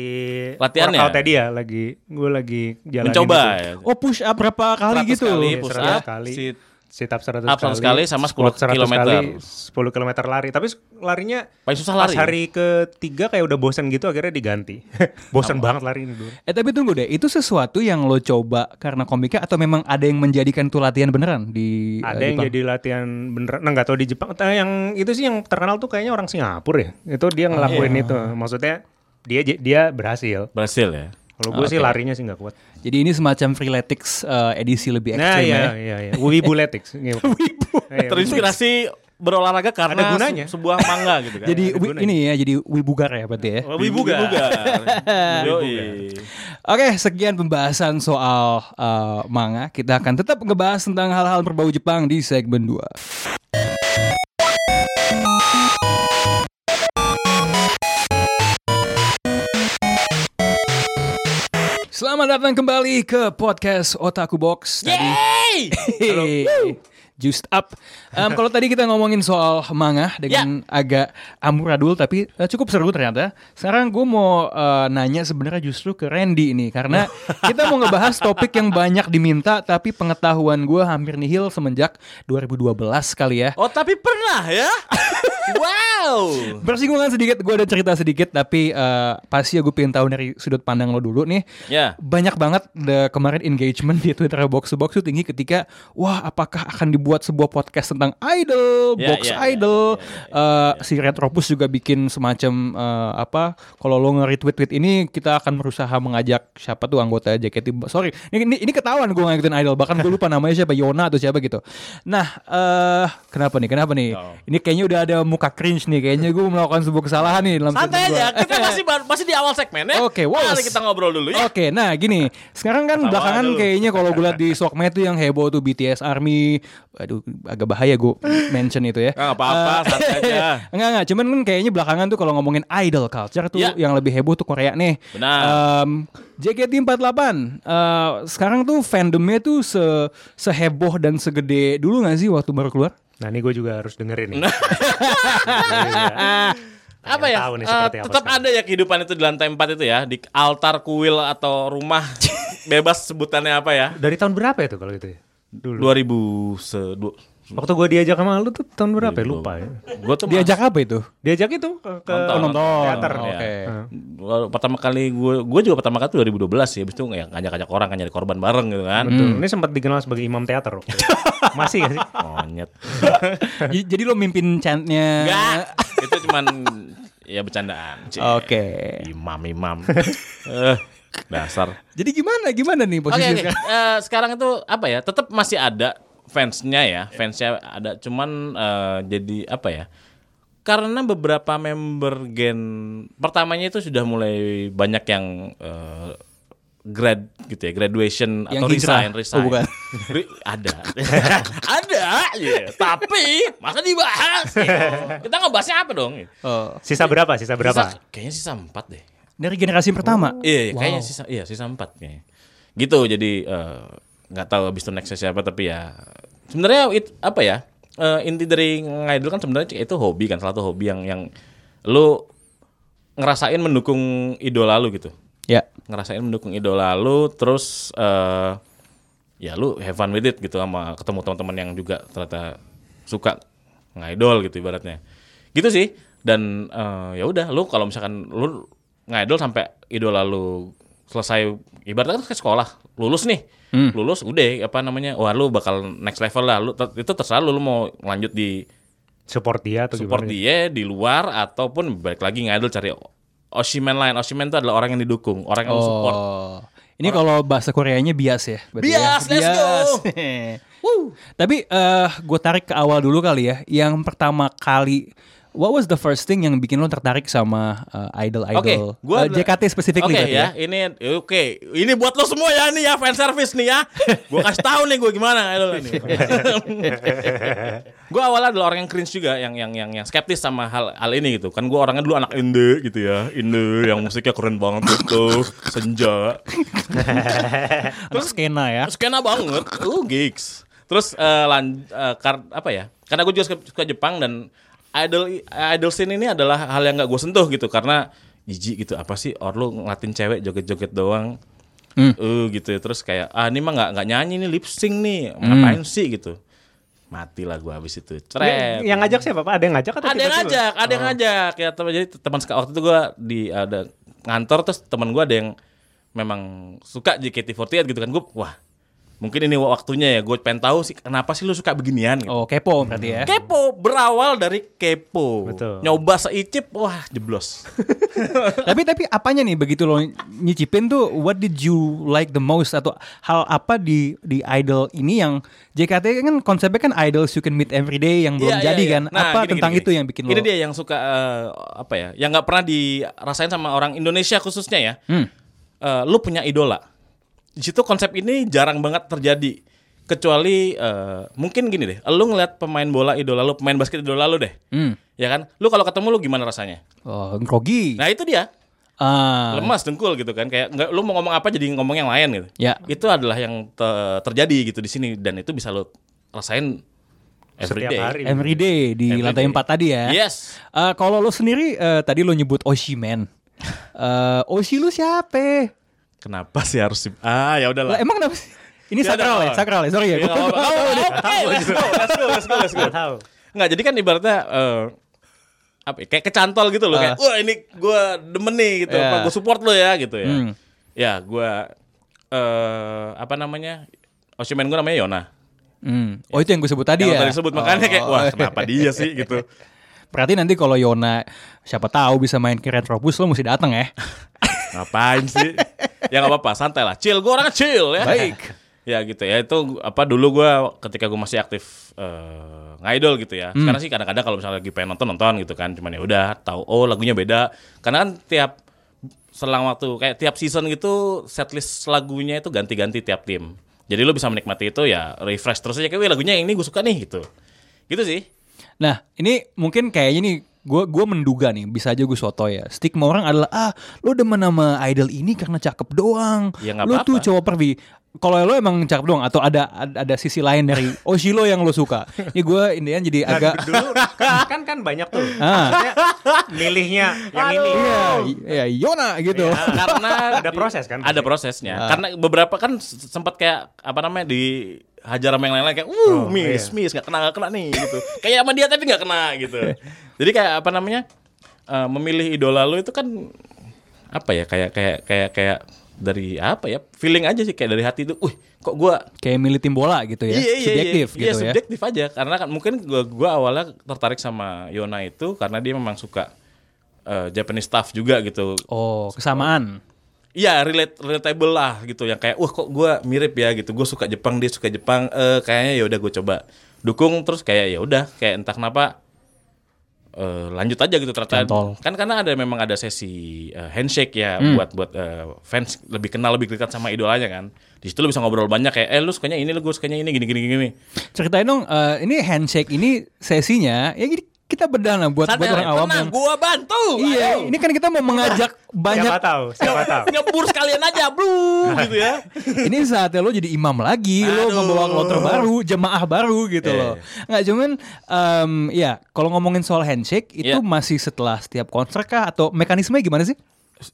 Latihannya? workout tadi ya lagi gue lagi jalan Mencoba ya. Oh push up berapa kali 100 gitu? kali Iya, push 100 up, kali. sit sit up 100 up 100 kali sama 10 squat 100 kilometer. kali, 10 km lari tapi s- larinya Paling susah pas lari. hari ketiga kayak udah bosan gitu akhirnya diganti bosan banget lari ini Iya, dulu Eh tapi tunggu deh, itu sesuatu yang lo coba karena komika atau memang ada yang menjadikan tuh latihan beneran di eh, ada yang Jepang? jadi latihan beneran nah nggak tahu di Jepang Entah yang itu sih yang terkenal tuh kayaknya orang Singapura ya itu dia Oh, ngelakuin iya. itu maksudnya dia j- dia berhasil Berhasil ya. kalau gue sih larinya sih nggak kuat Jadi ini semacam freeletics eh, edisi lebih nah ekstrim iya ya. iya iya wibuletics Terinspirasi berolahraga karena Iya, Ada gunanya. se- sebuah manga gitu kan. Jadi wi- ini ya, jadi wibugar ya berarti ya. Oh, wibuga. Yoi. Oke, sekian pembahasan soal eh, manga. Kita akan tetap ngebahas tentang hal-hal berbau Jepang di segmen 2. Selamat datang kembali ke podcast Otaku Box. Tadi Hey, Just up. Em, kalau tadi kita ngomongin soal manga dengan agak amuradul tapi eh, cukup seru ternyata. Sekarang gue mau eh, nanya sebenarnya justru ke Randy ini karena kita mau ngebahas topik yang banyak diminta tapi pengetahuan gue hampir nihil semenjak 2012 kali ya. Oh tapi pernah ya? wow. Bersinggungan sedikit, gue ada cerita sedikit tapi eh, pasti ya gue pengen tahu dari sudut pandang lo dulu nih. Ya. Banyak banget the, kemarin engagement di Twitter box to box tuh tinggi ketika wah apakah akan dibuat sebuah podcast tentang idol, Ya, box ya, idol. iya. Eh, si Retropus juga bikin semacam eh, apa kalau lo nge-retweet tweet ini kita akan berusaha mengajak siapa tuh anggota JKT. Sorry, ini ini, ini ketahuan gue ngikutin idol bahkan gue lupa namanya siapa Yona atau siapa gitu. Nah, eh kenapa nih? Kenapa nih? Oh. Ini kayaknya udah ada muka cringe nih. Kayaknya gue melakukan sebuah kesalahan nih dalam statement Santai gua. aja. Kita masih bar- masih di awal segmen ya. Oke, wow. Mari kita ngobrol dulu ya. Oke, nah gini, sekarang kan Ketawa belakangan dulu. kayaknya kalau gue liat di sokmed tuh yang heboh tuh BTS Army, aduh agak bahaya gue mention itu ya. Ah, Nggak apa-apa, Eh, santai aja. Enggak enggak, cuman kan kayaknya belakangan tuh kalau ngomongin idol culture tuh Ya. yang lebih heboh tuh Korea nih. Benar. Em, JKT48 eh, sekarang tuh fandomnya tuh se seheboh dan segede dulu gak sih waktu baru keluar? nah ini gue juga harus dengerin nih Nah. Apa ya? Tahu nih Eh, seperti apa tetap sekarang. ada ya kehidupan itu di lantai 4 itu ya, di altar kuil atau rumah bebas sebutannya apa ya? dari tahun berapa ya tuh kalau gitu ya dulu 2000 se du- Hmm. waktu gue diajak sama lu tuh tahun berapa ya lupa ya Gua tuh Diajak apa itu? diajak itu ke, ke Nonton. Nonton. Oh, iya. teater Oke. Ya. Gua- pertama kali gue gue juga pertama kali tuh 2012 ya habis itu ya ngajak-ngajak orang kan nyari korban bareng gitu kan Betul. Ini sempat dikenal sebagai imam teater. waktu itu. Masih gak sih? monyet J- Jadi lo mimpin chantnya? enggak itu cuman ya bercandaan Cie. Oke. imam imam Eh, dasar Jadi gimana gimana nih oke posisi oke. sekarang? Eh, sekarang itu apa ya tetap masih ada fansnya ya fansnya ada cuman eh, jadi apa ya karena beberapa member gen pertamanya itu sudah mulai banyak yang eh, grad gitu ya graduation Yang atau hijrah. resign resign Oh, bukan. Re- ada ada ya. tapi masa dibahas gitu. kita ngebahasnya apa dong Oh. Sisa berapa? Sisa berapa? Sisa- kayaknya sisa empat deh Dari generasi pertama. Iya, iya, kayaknya sisa iya sisa empat kayaknya. Gitu jadi eh, nggak tahu abis itu nextnya siapa tapi ya sebenarnya it- apa ya eh, inti dari ngidol kan sebenarnya itu hobi kan salah satu hobi yang yang lu ngerasain mendukung idola lu gitu Ya. ngerasain mendukung idola lu terus eh, ya lu have fun with it gitu sama ketemu teman-teman yang juga ternyata suka ngaidol gitu ibaratnya gitu sih dan eh, ya udah lu kalau misalkan lu ngaidol sampai idola lu selesai ibaratnya kan ke sekolah lulus nih lulus udah apa namanya wah lu bakal next level lah lu ter- itu terserah lu, lu mau lanjut di Support dia atau support gimana? dia di luar ataupun balik lagi ngaidol cari Oshimen lain Oshimen itu adalah orang yang didukung orang yang lu support Oh. Ini kalau bahasa Koreanya bias ya. berarti ya? Bias, let's go. Woo. Tapi eh gue tarik ke awal dulu kali ya. Yang pertama kali What was the first thing yang bikin lo tertarik sama eh, idol-idol Oke, gua Eh, JKT specifically Oke berarti ya, ini oke, ini buat lo semua ya ini ya fan service nih ya. Gua kasih tahu nih gue gimana idol ini. gue awalnya adalah orang yang cringe juga, yang yang yang yang skeptis sama hal hal ini gitu. Kan gue orangnya dulu anak indie gitu ya, indie yang musiknya keren banget gitu, senja, Anak skena ya. skena banget, lu gigs. Terus eh lan, eh, kar- apa ya? Karena gue juga suka, suka Jepang dan idol idol scene ini adalah hal yang gak gue sentuh gitu karena jijik gitu apa sih or lu ngelatin cewek joget-joget doang eh gitu ya. terus kayak ah ini mah nggak nggak nyanyi nih lip sync nih ngapain sih gitu mati lah gue habis itu Yang, ceret yang ngajak siapa Pak? Ada yang ngajak atau ada yang tiba-tiba? Oh. ngajak, ada yang ngajak ya teman jadi teman seka- waktu itu gue di ada ngantor terus teman gue ada yang memang suka JKT48 gitu kan gue wah mungkin ini waktunya ya gue pengen tahu sih kenapa sih lu suka beginian gitu. Oh, kepo berarti ya. kepo berawal dari kepo Betul. nyoba seicip wah jeblos tapi tapi apanya nih begitu lo nyicipin tuh what did you like the most atau hal apa di di idol ini yang JKT kan konsepnya kan idols you can meet every day yang belum Iya, iya, jadi iya. kan Nah, apa gini, tentang gini, itu gini. yang bikin Ini lo dia yang suka eh, apa ya? Yang nggak pernah dirasain sama orang Indonesia khususnya ya. Hmm. Eh, lu punya idola. Di situ konsep ini jarang banget terjadi. Kecuali eh, mungkin gini deh, lu ngeliat pemain bola idola lu, pemain basket idola lu deh. Ya kan? Lu kalau ketemu lu gimana rasanya? Hmm. oh, grogi Nah, itu dia. Ah, Lemas dengkul gitu kan. Kayak nggak lu mau ngomong apa jadi ngomong yang lain gitu. Ya. Itu adalah yang te- terjadi gitu di sini dan itu bisa lu rasain every Setiap day. hari. every day di Every lantai day. 4 tadi ya Yes. Eh, kalau lo sendiri eh, tadi lo nyebut Oshiman Eh Oshi lu siapa Kenapa sih harus di- Ah, ya lah, udahlah. emang kenapa sih ini Ya, sakral udah, ya nggak sakral ya sorry ya Ya, nggak apa-apa. Gua- Oke, let's go, let's go, let's go, let's go. Nggak tahu. Nggak, jadi kan ibaratnya eh, apa ya, kayak kecantol gitu loh Ah. kayak wah ini gue demen nih gitu Ya. apa gue support lo ya gitu ya Hmm. ya gue eh apa namanya oh, Oshimen gue namanya Yona Hmm. Oh itu yang gue sebut tadi yang ya. tadi sebut makanya kayak Oh. wah kenapa dia sih gitu Berarti nanti kalau Yona siapa tahu bisa main ke Retrobus lo mesti datang ya. ngapain sih ya nggak apa-apa santai lah chill gue orang chill ya Baik. ya gitu ya itu apa dulu gue ketika gue masih aktif eh ngaidol gitu ya sekarang sih kadang-kadang kalau misalnya lagi pengen nonton nonton gitu kan cuman ya udah tahu oh lagunya beda karena kan tiap selang waktu kayak tiap season gitu setlist lagunya itu ganti-ganti tiap tim jadi lo bisa menikmati itu ya refresh terus aja kayak "Wih, lagunya yang ini gue suka nih gitu gitu sih Nah ini mungkin kayaknya nih gue gue menduga nih bisa aja gue soto ya stigma orang adalah ah lo demen sama idol ini karena cakep doang Ya, nggak lo tuh apa-apa. cowok pervi kalau lo emang cakep doang atau ada ada, ada sisi lain dari Oshilo yang lo suka ini gue Indian jadi Nah, agak dulu kan, kan kan banyak tuh. ah Maksudnya milihnya yang ini. ya, ya Yona gitu karena Ada proses kan? ada prosesnya karena beberapa kan s- sempat kayak apa namanya dihajar sama yang lain-lain kayak uh Oh, miss iya. miss nggak kena nggak kena nih gitu kayak sama dia tapi nggak kena gitu jadi kayak apa namanya eh, memilih idola lu itu kan apa ya kayak kayak kayak kayak dari apa ya feeling aja sih kayak dari hati itu uh kok gua kayak milih tim bola gitu ya subjektif iya, gitu iya, ya subjektif aja karena kan mungkin gua gua awalnya tertarik sama Yona itu karena dia memang suka eh, Japanese stuff juga gitu oh kesamaan Iya relate relatable lah gitu yang kayak wah kok gua mirip ya gitu gue suka Jepang dia suka Jepang eh kayaknya ya udah gue coba dukung terus kayak ya udah kayak entah kenapa eh lanjut aja gitu ternyata Cantol. kan karena ada memang ada sesi eh, handshake ya Hmm. buat buat eh, fans lebih kenal lebih dekat sama idolanya kan di situ lu bisa ngobrol banyak kayak eh lu sukanya ini lu gue sukanya ini gini gini gini Ceritain dong, eh, ini handshake ini sesinya, ya jadi kita bedah lah buat, buat orang awam yang... gue bantu Iya, ini kan kita mau mengajak Siapa banyak. tahu? Siapa tahu? nyebur sekalian aja blu gitu ya Ini saatnya lo jadi imam lagi, lo Aduh. membawa kloter baru, jemaah baru gitu Iya, loh. Nggak cuman, em, ya kalau ngomongin soal handshake itu Iya. masih setelah setiap konser kah atau mekanismenya gimana sih?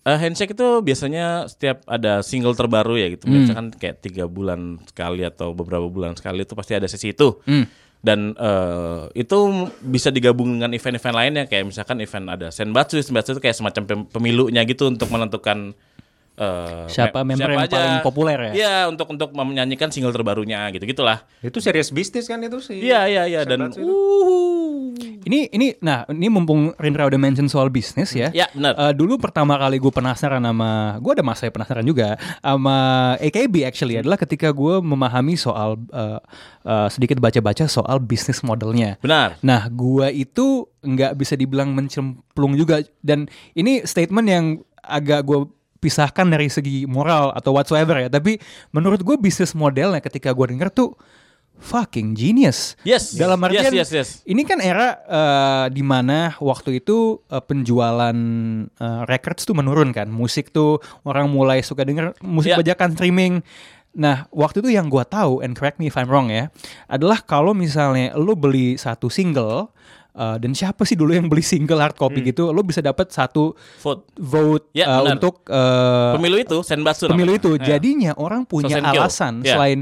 Eh, handshake itu biasanya setiap ada single terbaru ya gitu. Hmm. Biasanya kan kayak tiga bulan sekali atau beberapa bulan sekali itu pasti ada sesi itu. Hmm. Dan eh, itu bisa digabung dengan event-event lainnya kayak misalkan event ada senbatsu, senbatsu itu kayak semacam pem- pemilunya gitu untuk menentukan eh, Siapa me- member yang paling populer ya? Iya, untuk untuk menyanyikan single terbarunya gitu gitulah. Itu serius bisnis kan itu sih. Iya iya iya dan Senbatsu itu. Wuhu. Ini ini nah ini mumpung Rindra udah mention soal bisnis ya. Ya, benar. Eh, dulu pertama kali gue penasaran sama gue ada masa yang penasaran juga sama AKB Hmm. actually adalah ketika gue memahami soal eh, eh, sedikit baca-baca soal bisnis modelnya. benar. Nah, gua itu nggak bisa dibilang mencemplung juga dan ini statement yang agak gua pisahkan dari segi moral atau whatsoever ya. Tapi menurut gue bisnis modelnya ketika gua denger tuh fucking genius. Yes. Dalam Yes, artian yes, yes. ini kan era eh, di mana waktu itu eh, penjualan eh, records tuh menurun kan. Musik tuh orang mulai suka denger musik Ya. bajakan streaming. Nah, waktu itu yang gua tahu and correct me if I'm wrong ya, adalah kalau misalnya lo beli satu single eh, dan siapa sih dulu yang beli single hard copy gitu, lo bisa dapat satu Vote. vote Hmm. Ya, eh, benar. untuk eh, Pemilu itu senbatsu pemilu namanya. itu. Iya. Jadinya orang punya Sosenkyo. alasan Ya. selain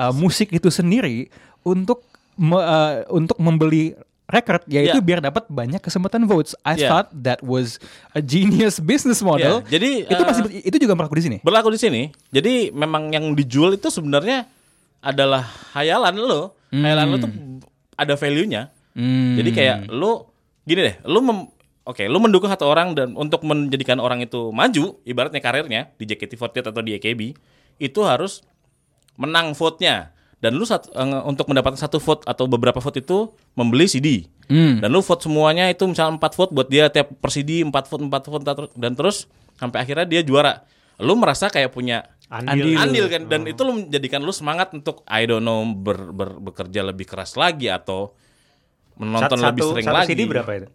uh, musik itu sendiri untuk me- uh, untuk membeli record yaitu Ya. biar dapat banyak kesempatan votes. I Ya. thought that was a genius business model. Ya, jadi, itu uh, masih itu juga berlaku di sini. berlaku di sini. Jadi memang yang dijual itu sebenarnya adalah hayalan lo. Hayalan lo tuh ada value-nya. Jadi kayak lo gini deh, lo mem- Oke, lo mendukung satu orang dan untuk menjadikan orang itu maju, ibaratnya karirnya di JKT48 atau di AKB, itu harus menang vote-nya. Dan lu sat- eh, untuk mendapatkan satu vote atau beberapa vote itu membeli CD. Dan lu vote semuanya itu misalnya 4 vote buat dia tiap per CD 4 vote 4 vote tar- dan terus sampai akhirnya dia juara. Lu merasa kayak punya Andil. Hmm. andil kan dan itu lu menjadikan lu semangat untuk I don't know ber- ber- bekerja lebih keras lagi atau Sat- menonton lebih satu- sering satu lagi. CD berapa itu?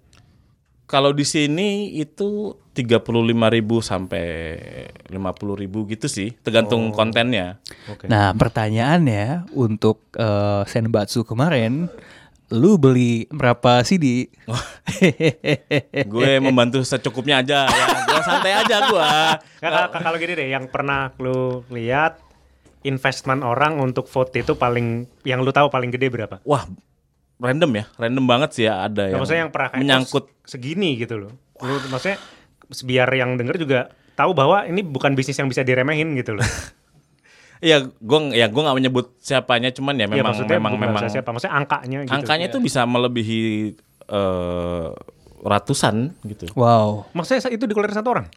Kalau di sini itu 35.000 sampai 50.000 gitu sih, tergantung Oh. kontennya. Nah, pertanyaannya untuk uh, Senbatsu kemarin lu beli berapa CD? gue membantu secukupnya aja ya. gue santai aja gue Kakak kalau gini deh, yang pernah lu lihat investment orang untuk vote itu paling yang lu tahu paling gede berapa? wah random ya random banget sih ya ada Nah, yang, maksudnya yang pernah kayak, menyangkut "Oh, segini gitu loh. Lu maksudnya biar yang denger juga tahu bahwa ini bukan bisnis yang bisa diremehin gitu loh. ya gue ya gue nggak menyebut siapanya cuman ya Iya, memang memang bukan memang bahasa siapa maksudnya angkanya gitu. angkanya Iya. tuh bisa melebihi eh, ratusan gitu wow. maksudnya itu dikeluarin satu orang.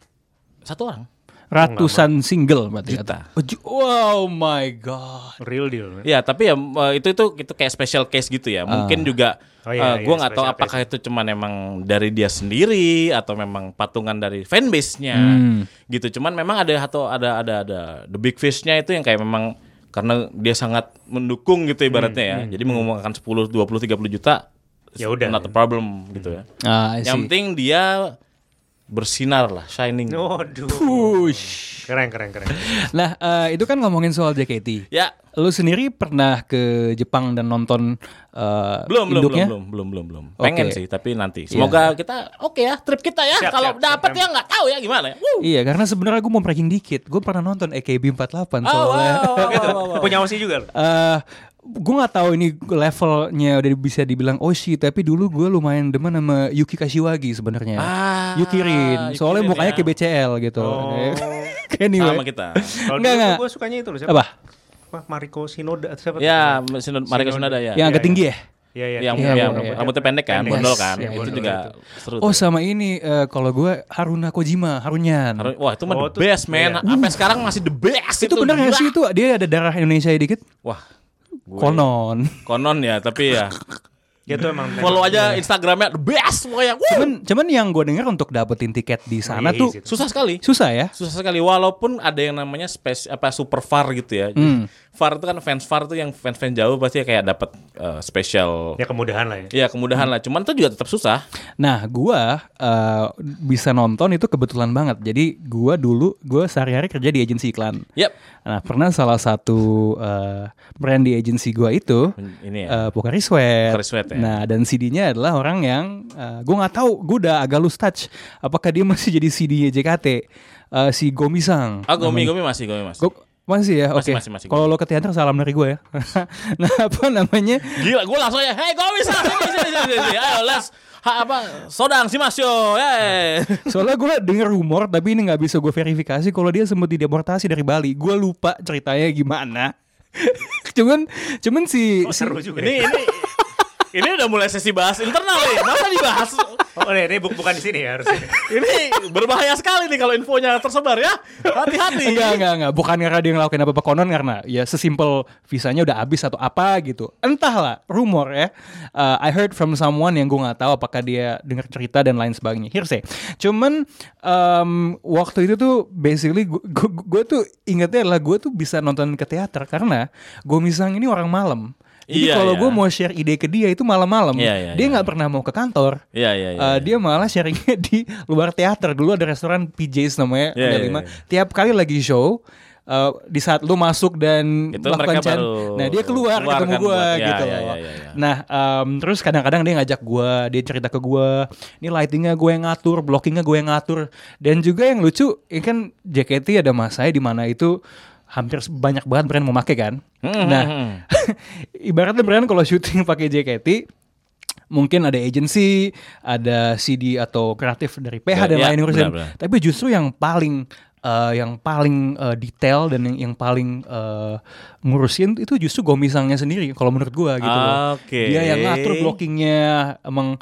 satu orang Ratusan single berarti Juta. Oh, ju- Wow my god. Real deal. Ya, tapi ya eh, itu itu itu kayak special case gitu ya. Mungkin Ah. juga Oh, iya, eh, gua iya, nggak tahu special apakah itu cuman emang dari dia sendiri atau memang patungan dari fanbase-nya Hmm. gitu. Cuman memang ada atau ada ada ada the big fish-nya itu yang kayak memang karena dia sangat mendukung gitu ibaratnya ya. Jadi mengumumkan 10, 20, 30 juta Hmm, Ya udah. not a problem gitu ya. Ah, I see. Yang penting dia bersinar lah, shining. Waduh. Keren keren keren. Nah, eh, itu kan ngomongin soal JKT. Ya. Lu sendiri pernah ke Jepang dan nonton eh, belum belum induknya? belum belum belum belum Oke. pengen sih tapi nanti semoga kita oke ya trip kita ya Siap, kalau siap, dapat siap. ya nggak tahu ya gimana ya Wuh. Iya, karena sebenarnya gue mau breaking dikit. Gue pernah nonton AKB48 Oh, wow, soalnya. wow, wow, wow, wow. Punya Osi juga loh. eh gue nggak tahu ini levelnya udah bisa dibilang Oshi tapi dulu gue lumayan demen sama Yuki Kashiwagi sebenarnya Ah, Yuki Rin Yuki soalnya Rin mukanya ya. kayak BCL gitu Oh. anyway sama kita Kalau Enggak, enggak. gue sukanya itu loh siapa? apa Wah, Mariko Shinoda atau siapa? ya Sinon, Marika Sunada ya yang agak iya. tinggi ya Iya iya. yang, Iya, yang iya. rambutnya pendek kan Pendek. bondol Yes, kan iya, itu bondol juga seru oh tuh. sama ini eh, kalau gue Haruna Kojima Harunyan Harus- wah itu mah Oh, the tuh- best man iya. sampai sekarang masih the best itu benar nggak sih itu dia ada darah Indonesia dikit wah gue- konon konon ya tapi ya Ya tuh emang. follow aja Iya. instagramnya the best pokoknya Wuh. cuman cuman yang gue dengar untuk dapetin tiket di sana Easy tuh tuh. susah sekali susah ya susah sekali walaupun ada yang namanya space apa super far gitu ya. Hmm. Far itu kan fans far tuh yang fans-fans jauh pasti kayak dapat eh, special Ya kemudahan lah ya. ya kemudahan lah. Cuman itu juga tetap susah. Nah, gua eh, bisa nonton itu kebetulan banget. Jadi gua dulu gua sehari-hari kerja di agensi iklan. Yap. Nah, pernah salah satu eh, brand di agensi gua itu Ini ya. eh, Pocari Sweat. Pocari Sweat ya. Nah dan CD-nya adalah orang yang eh, gue nggak tahu gue udah agak loose touch apakah dia masih jadi CD-nya JKT Eh, si Gomisang. Ah, Gomi, Gomi masih, Gomi masih. Go- masih ya, oke. Masih, masih, masih. Kalau lo ke teater salam dari gue ya. nah apa namanya? Gila, gue langsung ya, hey Gomi, sini, sini, sini, sini, sini. Ayo, let's, ha, apa, sodang, si Masyo, hey. Soalnya gue denger rumor tapi ini nggak bisa gue verifikasi kalau dia sempat dideportasi dari Bali. Gue lupa ceritanya gimana. cuman cuman si, Oh, si Seru juga. Ini, ya. ini, ini udah mulai sesi bahas internal nih, masa dibahas? Oh, ini, ini bu- bukan di sini ya harusnya. Ini berbahaya sekali nih kalau infonya tersebar ya, hati-hati. Enggak, enggak, enggak. Bukan karena dia ngelakuin apa-apa konon karena ya sesimpel visanya udah habis atau apa gitu. Entahlah, rumor ya. Uh, I heard from someone yang gue nggak tahu apakah dia dengar cerita dan lain sebagainya. Hearsay. Cuman em, waktu itu tuh basically gue- gue gue tuh ingetnya adalah gue tuh bisa nonton ke teater karena gue misalnya ini orang malam. Jadi Iya, kalau iya. gue mau share ide ke dia itu malam-malam, Iya, iya, dia iya. nggak pernah mau ke kantor. Iya, iya, iya. Eh, dia malah sharingnya di luar teater dulu ada restoran PJs namanya Iya, ada iya, lima iya. tiap kali lagi show eh, di saat lu masuk dan Itu melakukan mereka chat, baru nah dia keluar, keluar ketemu gue kan buat- iya, gitu iya, loh. iya, iya, iya. Nah em, terus kadang-kadang dia ngajak gue, dia cerita ke gue, ini lightingnya gue yang ngatur, blockingnya gue yang ngatur, dan juga yang lucu, ini kan JKT ada masanya di mana itu hampir banyak banget brand memakai kan. Hmm, Nah ibaratnya brand kalau syuting pakai JKT mungkin ada agency, ada CD atau kreatif dari PH dan Ya, lain urusan. benar-benar. Tapi justru yang paling eh, yang paling eh, detail dan yang, yang paling eh, ngurusin itu justru gomisangnya sendiri kalau menurut gua gitu loh. Oke. Dia yang ngatur blockingnya emang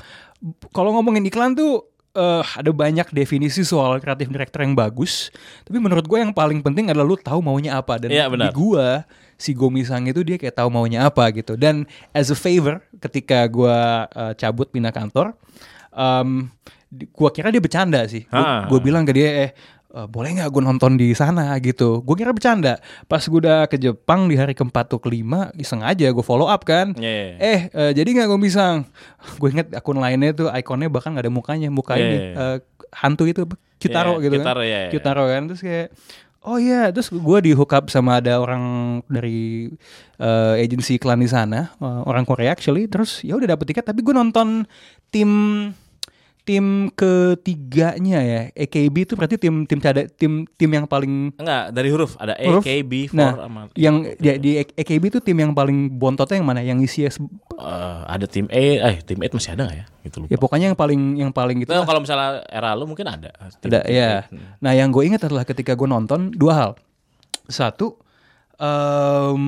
kalau ngomongin iklan tuh eh, ada banyak definisi soal kreatif director yang bagus, tapi menurut gua yang paling penting adalah lu tahu maunya apa dan Iya, benar. di gua si Gomisang itu dia kayak tahu maunya apa gitu dan as a favor ketika gua eh, cabut pindah kantor em, di- gua kira dia bercanda sih gua, Ah. gua bilang ke dia eh eh, boleh nggak gua nonton di sana gitu gua kira bercanda pas gua udah ke Jepang di hari keempat atau kelima sengaja gua follow up kan Iya. eh eh, jadi nggak Gomisang gue inget akun lainnya tuh ikonnya bahkan nggak ada mukanya muka ini Iya. eh, hantu itu apa? Kitaro Iya, gitu Kitaro, kan iya, iya. Kitaro kan terus kayak oh iya terus gue di hook up sama ada orang dari eh, agensi iklan di sana eh, orang Korea actually terus ya udah dapet tiket tapi gue nonton tim tim ketiganya ya AKB itu berarti tim tim cada- tim tim yang paling Enggak, dari huruf ada A, Huruf. K, B, 4 nah sama yang di, di AKB itu tim yang paling bontotnya yang mana yang isinya se- Eh, ada tim A, eh tim A masih ada nggak ya? Gitu lupa. ya pokoknya yang paling yang paling gitu Nah, lah. kalau misalnya era lu mungkin ada. Tim- Ada, tim ya. A. Hmm. Nah, yang gue ingat adalah ketika gue nonton dua hal. Satu, em,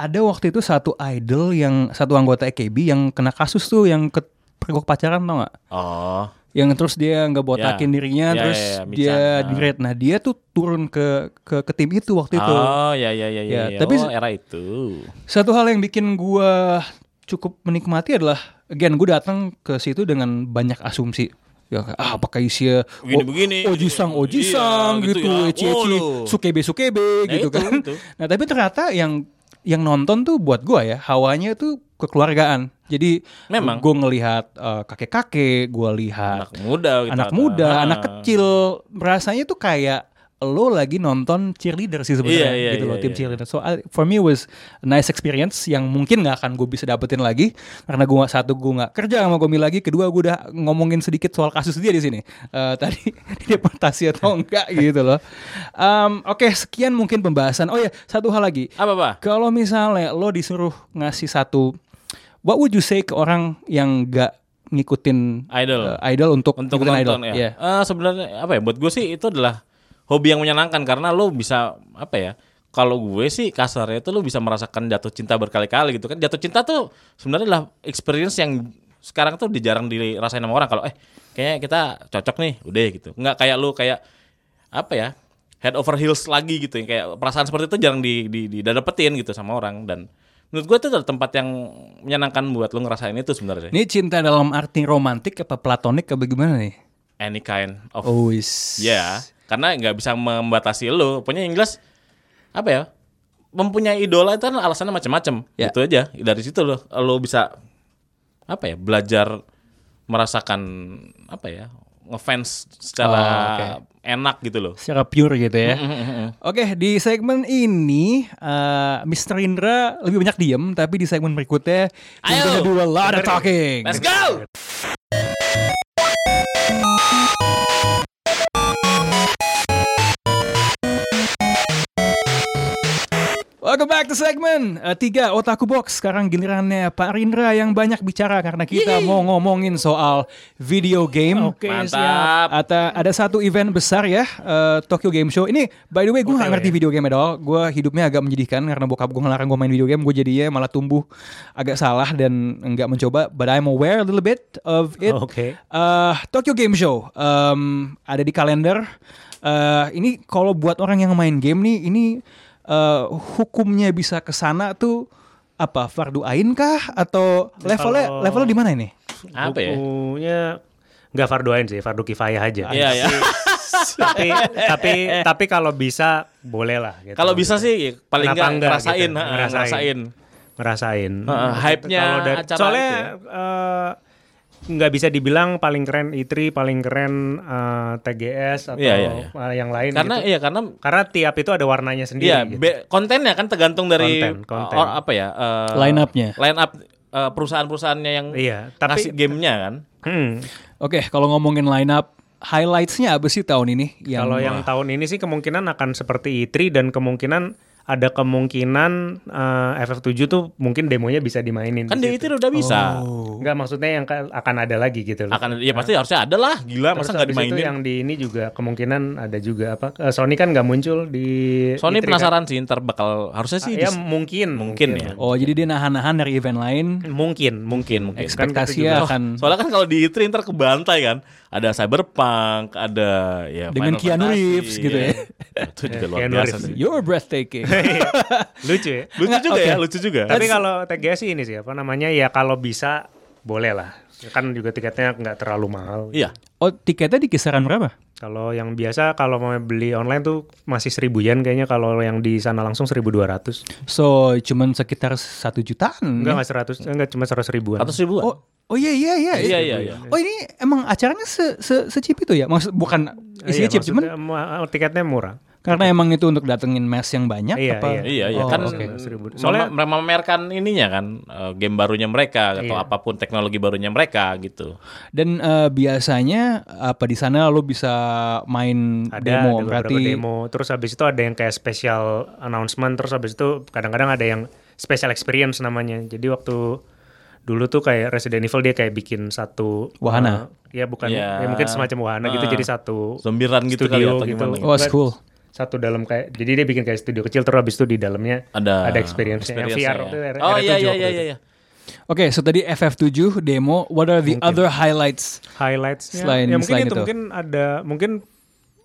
ada waktu itu satu idol yang satu anggota AKB yang kena kasus tuh yang ke pergok pacaran tau gak? Oh, Yang terus dia nggak botakin Ya. dirinya, Ya, terus ya, ya, Michan. dia Ah. di raid. Nah, dia tuh turun ke ke, ke tim itu waktu itu. oh ya ya ya Ya, ya. ya. tapi- oh, era itu. Satu hal yang bikin gue cukup menikmati adalah, again gue datang ke situ dengan banyak asumsi. Ya, ah, apakah isinya o- Begini-begini. Oh, ojisang ojisang Iya, gitu, gitu ya. eci eci Waduh. sukebe sukebe Ya, gitu itu, kan. itu. Nah tapi ternyata yang yang nonton tuh buat gua ya hawanya tuh kekeluargaan. Jadi Memang. gue ngelihat eh, kakek-kakek, gua lihat Anak muda gitu. Ah. anak atau- muda, Ah. anak kecil, rasanya tuh kayak lo lagi nonton cheerleader sih sebenarnya Iya, iya, gitu loh iya, tim iya. cheerleader. So I- for me was a nice experience yang mungkin nggak akan gue bisa dapetin lagi karena gue satu gue nggak kerja sama Gomi lagi, kedua gue udah ngomongin sedikit soal kasus dia di sini Eh, tadi deportasi atau enggak gitu loh. Um, Oke sekian mungkin pembahasan. Oh ya satu hal lagi. Apa, Pak? Kalau misalnya lo disuruh ngasih satu, what would you say ke orang yang nggak ngikutin Idol. eh, idol untuk untuk ngikutin nonton ya. Iya. Eh, sebenarnya apa ya? Buat gue sih itu adalah hobi yang menyenangkan karena lo bisa apa ya? Kalau gue sih kasarnya itu lo bisa merasakan jatuh cinta berkali-kali gitu kan. Jatuh cinta tuh sebenarnya adalah experience yang sekarang tuh dijarang dirasain sama orang kalau eh kayaknya kita cocok nih udah gitu. Nggak kayak lo kayak apa ya? Head over heels lagi gitu yang kayak perasaan seperti itu jarang di di, didapetin gitu sama orang dan menurut gue itu adalah tempat yang menyenangkan buat lo ngerasain itu sebenarnya. Ini cinta dalam arti romantik apa platonik apa gimana nih? Any kind of Oh, is. Ya, karena nggak bisa membatasi lo. Pokoknya yang jelas apa ya? Mempunyai idola itu kan alasannya macam-macam. Ya. Gitu aja. Dari situ lo lo bisa apa ya? Belajar merasakan apa ya? Ngefans secara Oh, oke. enak gitu loh. Secara pure gitu ya. Mm, Oke, di segmen ini eh Mr. Indra lebih banyak diem, tapi di segmen berikutnya Ayo. we're gonna do a lot of talking. Let's go. Welcome back to segmen eh, tiga Otaku Box. Sekarang gilirannya Pak Rindra yang banyak bicara karena kita mau ngomongin soal video game. Oke, siap. Mantap. Ata- ada satu event besar ya eh, Tokyo Game Show. Ini by the way gue nggak ngerti video game at all. Gue hidupnya agak menjadikan karena bokap gue ngelarang gue main video game. Gue jadinya malah tumbuh agak salah dan nggak mencoba. But I'm aware a little bit of it. Oke. Eh, Tokyo Game Show em, ada di kalender. Eh, ini kalau buat orang yang main game nih, ini eh, hukumnya bisa ke sana tuh apa fardu ain kah atau levelnya Kalau- levelnya di mana ini? Apa ya? Bukunya nggak fardu ain sih, fardu kifayah aja. Iya ya. tapi tapi tapi kalau bisa boleh lah. Gitu. Kalau bisa sih paling Kenapa nggak enggak ngerasain, gitu? ha, Ngerasain. ngerasain. ngerasain Heeh, hype-nya Kalau dari- acara soalnya itu ya? eh, nggak bisa dibilang paling keren E3 paling keren eh, TGS atau Iya, iya, iya. eh, yang lain Karena gitu. iya karena karena tiap itu ada warnanya sendiri iya gitu. be- kontennya kan tergantung dari Konten, konten. or- apa ya? eh, Line up-nya. Line up eh, perusahaan-perusahaannya yang Iya, tapi- ngasih gamenya kan. Hmm. Oke, kalau ngomongin lineup, highlightsnya apa sih tahun ini? Yang kalau yang tahun ini sih kemungkinan akan seperti E3 dan kemungkinan ada kemungkinan eh, FF7 tuh mungkin demonya bisa dimainin Kan di dia situ. itu udah bisa. nggak maksudnya yang ka- akan ada lagi gitu loh Akan ya pasti harusnya ada lah. Gila Terus masa nggak habis itu dimainin. yang di ini juga kemungkinan ada juga apa eh, Sony kan nggak muncul di Sony E3 kan? penasaran sih ntar bakal harusnya sih ya dis- mungkin mungkin ya. Oh, jadi dia nahan-nahan dari event lain. mungkin mungkin mungkin mungkin. Kan kita Ekspektasinya juga- akan Soalnya kan kalau di E3 ntar kebantai kan. Ada Cyberpunk, ada ya Dengan Keanu Final Fantasy, Reeves gitu ya. Itu juga luar Keanu biasa Reeves. sih. You're breathtaking. lucu ya Lucu Nggak, juga ya, oke. lucu juga. tapi kalau TGS sih ini sih apa namanya ya kalau bisa boleh lah kan juga tiketnya nggak terlalu mahal iya. oh, tiketnya di kisaran berapa? kalau yang biasa kalau mau beli online tuh masih seribu yen kayaknya kalau yang di sana langsung 1200 So, cuman sekitar satu jutaan. enggak enggak 100 enggak cuma 100 ribuan Atau ribuan. Oh, oh iya iya iya. Iya, iya, iya. Oh ini emang acaranya se se secip itu ya? Maksud bukan isinya Iya, chip cuman maksudnya ma- tiketnya murah karena emang itu untuk datengin mass yang banyak Iya, apa? iya. Iya, iya Oh, kan oke. Seribu. soalnya Soalnya- memamerkan ininya kan eh, game barunya mereka atau Iya. apapun teknologi barunya mereka gitu. Dan eh, biasanya apa di sana lo bisa main ada, demo ada beberapa berarti demo terus habis itu ada yang kayak special announcement terus habis itu kadang-kadang ada yang special experience namanya jadi waktu dulu tuh kayak Resident Evil dia kayak bikin satu Wahana. eh, ya bukan Ya. ya mungkin semacam wahana gitu Ah. jadi satu Zombiran gitu kali studio atau gitu gimana gitu. Wah, Oh, cool. satu dalam kayak jadi dia bikin kayak studio kecil terus habis itu di dalamnya Ada ada experience, yang VR experience-nya tuh ya. R- Oh R7 iya iya waktu iya itu. iya. iya. Oke, so tadi FF7 demo, what are the other highlights? highlights Selain- ya mungkin selain itu, itu. mungkin ada mungkin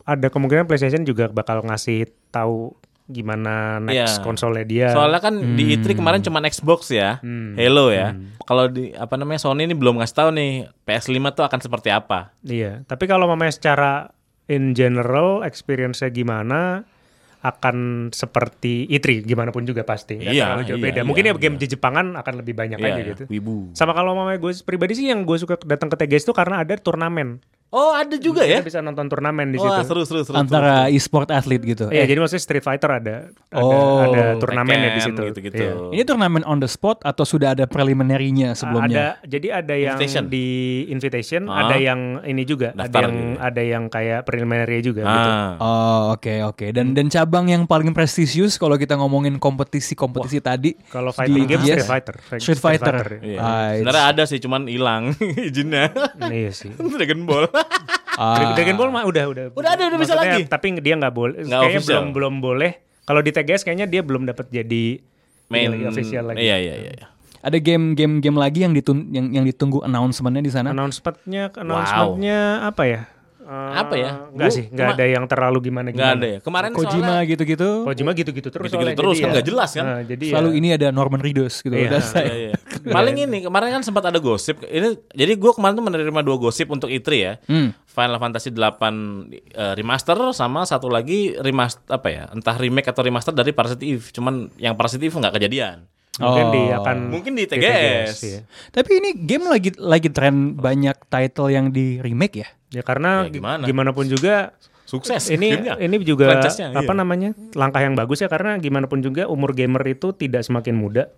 ada kemungkinan PlayStation juga bakal ngasih tahu gimana Iya. next konsolnya dia Soalnya kan di Hmm. E3 kemarin cuma Xbox ya, Halo ya. Kalau di apa namanya Sony ini belum ngasih tahu nih PS5 tuh akan seperti apa. Iya, tapi kalau mamanya secara in general experience-nya gimana akan seperti Itri gimana pun juga pasti. Nggak Iya, terlalu jauh iya, beda. iya, Mungkin ya iya. game di Jepangan akan lebih banyak Iya, aja iya. gitu. Wibu. Sama kalau mamanya gue pribadi sih yang gue suka datang ke TGS itu karena ada turnamen. Oh, ada juga Kita ya. Oh, bisa nonton turnamen di Wah, situ. seru seru seru. Antara e-sport atlet gitu. Iya, Eh, jadi maksudnya Street Fighter ada ada, Oh, ada seru. turnamen ya di Tekken, situ. Gitu-gitu. Iya. Eh, ini turnamen on the spot atau sudah ada preliminary-nya sebelumnya? Ah, Ada jadi ada yang Invitation. di invitation, Ah. ada yang ini juga, ada Daftar yang gitu ya. ada yang kayak preliminary juga gitu. Ah. Oh, oke oke. Dan Hmm. dan cabang yang paling prestisius kalau kita ngomongin kompetisi-kompetisi tadi Kalau di fighting game TGS, Street Fighter. Street Fighter. Iya. Ah, Sebenarnya ada sih, cuman hilang izinnya. iya sih. Dragon Ball. ah, Iya, Dragon Ball mah udah udah. Udah ada, udah bisa Maksudnya, lagi. Tapi dia nggak boleh. Nggak Kayaknya official. belum belum boleh. Kalau di TGS kayaknya dia belum dapat jadi Main ini lagi, official lagi. Iya iya iya. iya. ada game-game game lagi yang ditun yang yang ditunggu announcementnya di sana. Announcementnya announcementnya apa ya? Eh, Apa ya? Nggak Gua sih, nggak cuma- ada yang terlalu gimana Nggak gimana. ada ya. Kemarin Kojima gitu-gitu. Kojima gitu-gitu terus. Gitu-gitu soalnya, terus, jadi kan ya- nggak jelas kan? Eh, jadi Selalu ya, ini ada Norman Reedus gitu. Iya. udah saya. Iya, iya. Paling ini kemarin kan sempat ada gosip. Ini jadi gue kemarin tuh menerima dua gosip untuk Itri ya. Hmm. Final Fantasy 8 eh, remaster sama satu lagi remaster apa ya? Entah remake atau remaster dari Parasite Eve. Cuman yang Parasite Eve nggak kejadian. Mungkin di Oh. akan Mungkin di TGS, TGS. iya. Tapi ini game lagi lagi tren banyak title yang di remake ya. Ya karena Ya, gimana? gimana? pun juga sukses ini gamenya. ini juga Franchise-nya, apa iya. namanya langkah yang bagus ya karena gimana pun juga umur gamer itu tidak semakin muda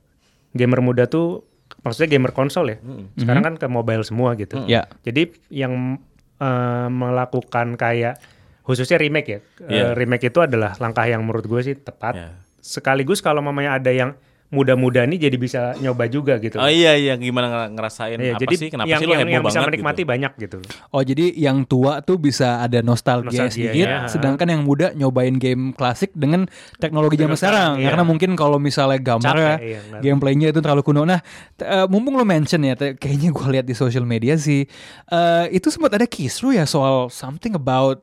gamer muda tuh maksudnya gamer konsol ya sekarang kan ke mobile semua gitu Ya. jadi yang eh, melakukan kayak khususnya remake ya eh, Iya. remake itu adalah langkah yang menurut gue sih tepat Iya. sekaligus kalau mamanya ada yang muda-muda nih jadi bisa nyoba juga gitu Oh iya iya gimana nger- ngerasain Iya, apa jadi sih kenapa yang, sih lo yang, heboh yang bisa banget menikmati gitu. banyak gitu Oh jadi yang tua tuh bisa ada nostalgia, Nostalgia, sedikit, ya. sedangkan yang muda nyobain game klasik dengan teknologi zaman Dengan sekarang, sekarang. iya. Karena mungkin kalau misalnya gambarnya, Capek, iya, benar. gameplaynya itu terlalu kuno. Nah, t- eh, mumpung lo mention ya, t- kayaknya gue lihat di social media sih, eh, itu sempat ada kisru ya soal something about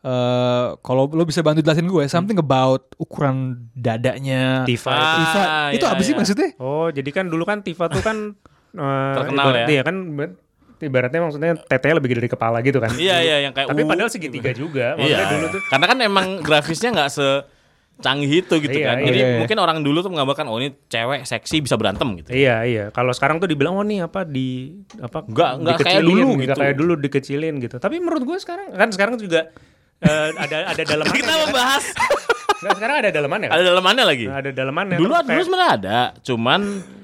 eh, kalau lo bisa bantu jelasin gue, something about ukuran dadanya. Hmm. Tifa Ah, itu. Tifa. itu iya, apa sih iya. maksudnya? Oh, jadi kan dulu kan Tifa tuh kan eh, Terkenal ibarat- ya. Iya kan ber- ibaratnya maksudnya tetenya lebih gede dari kepala gitu kan. Iya, iya, yang kayak Tapi uh, padahal segitiga Iya. juga. Maksudnya dulu tuh Karena kan emang grafisnya nggak se canggih itu gitu Iya, kan. iya. Jadi Iya, iya. mungkin orang dulu tuh menggambarkan oh ini cewek seksi bisa berantem gitu. Iya, iya. Kalau sekarang tuh dibilang oh nih apa di apa Nggak- nggak kayak dikecilin, dulu nggak gitu. kayak dulu dikecilin gitu. Tapi menurut gue sekarang kan sekarang juga eh, ada ada dalemannya. Kita kan? membahas Nggak, sekarang ada dalemannya kan? ada dalamannya lagi. Ada dalemannya. Dulu terus dulu kayak- sebenarnya ada, cuman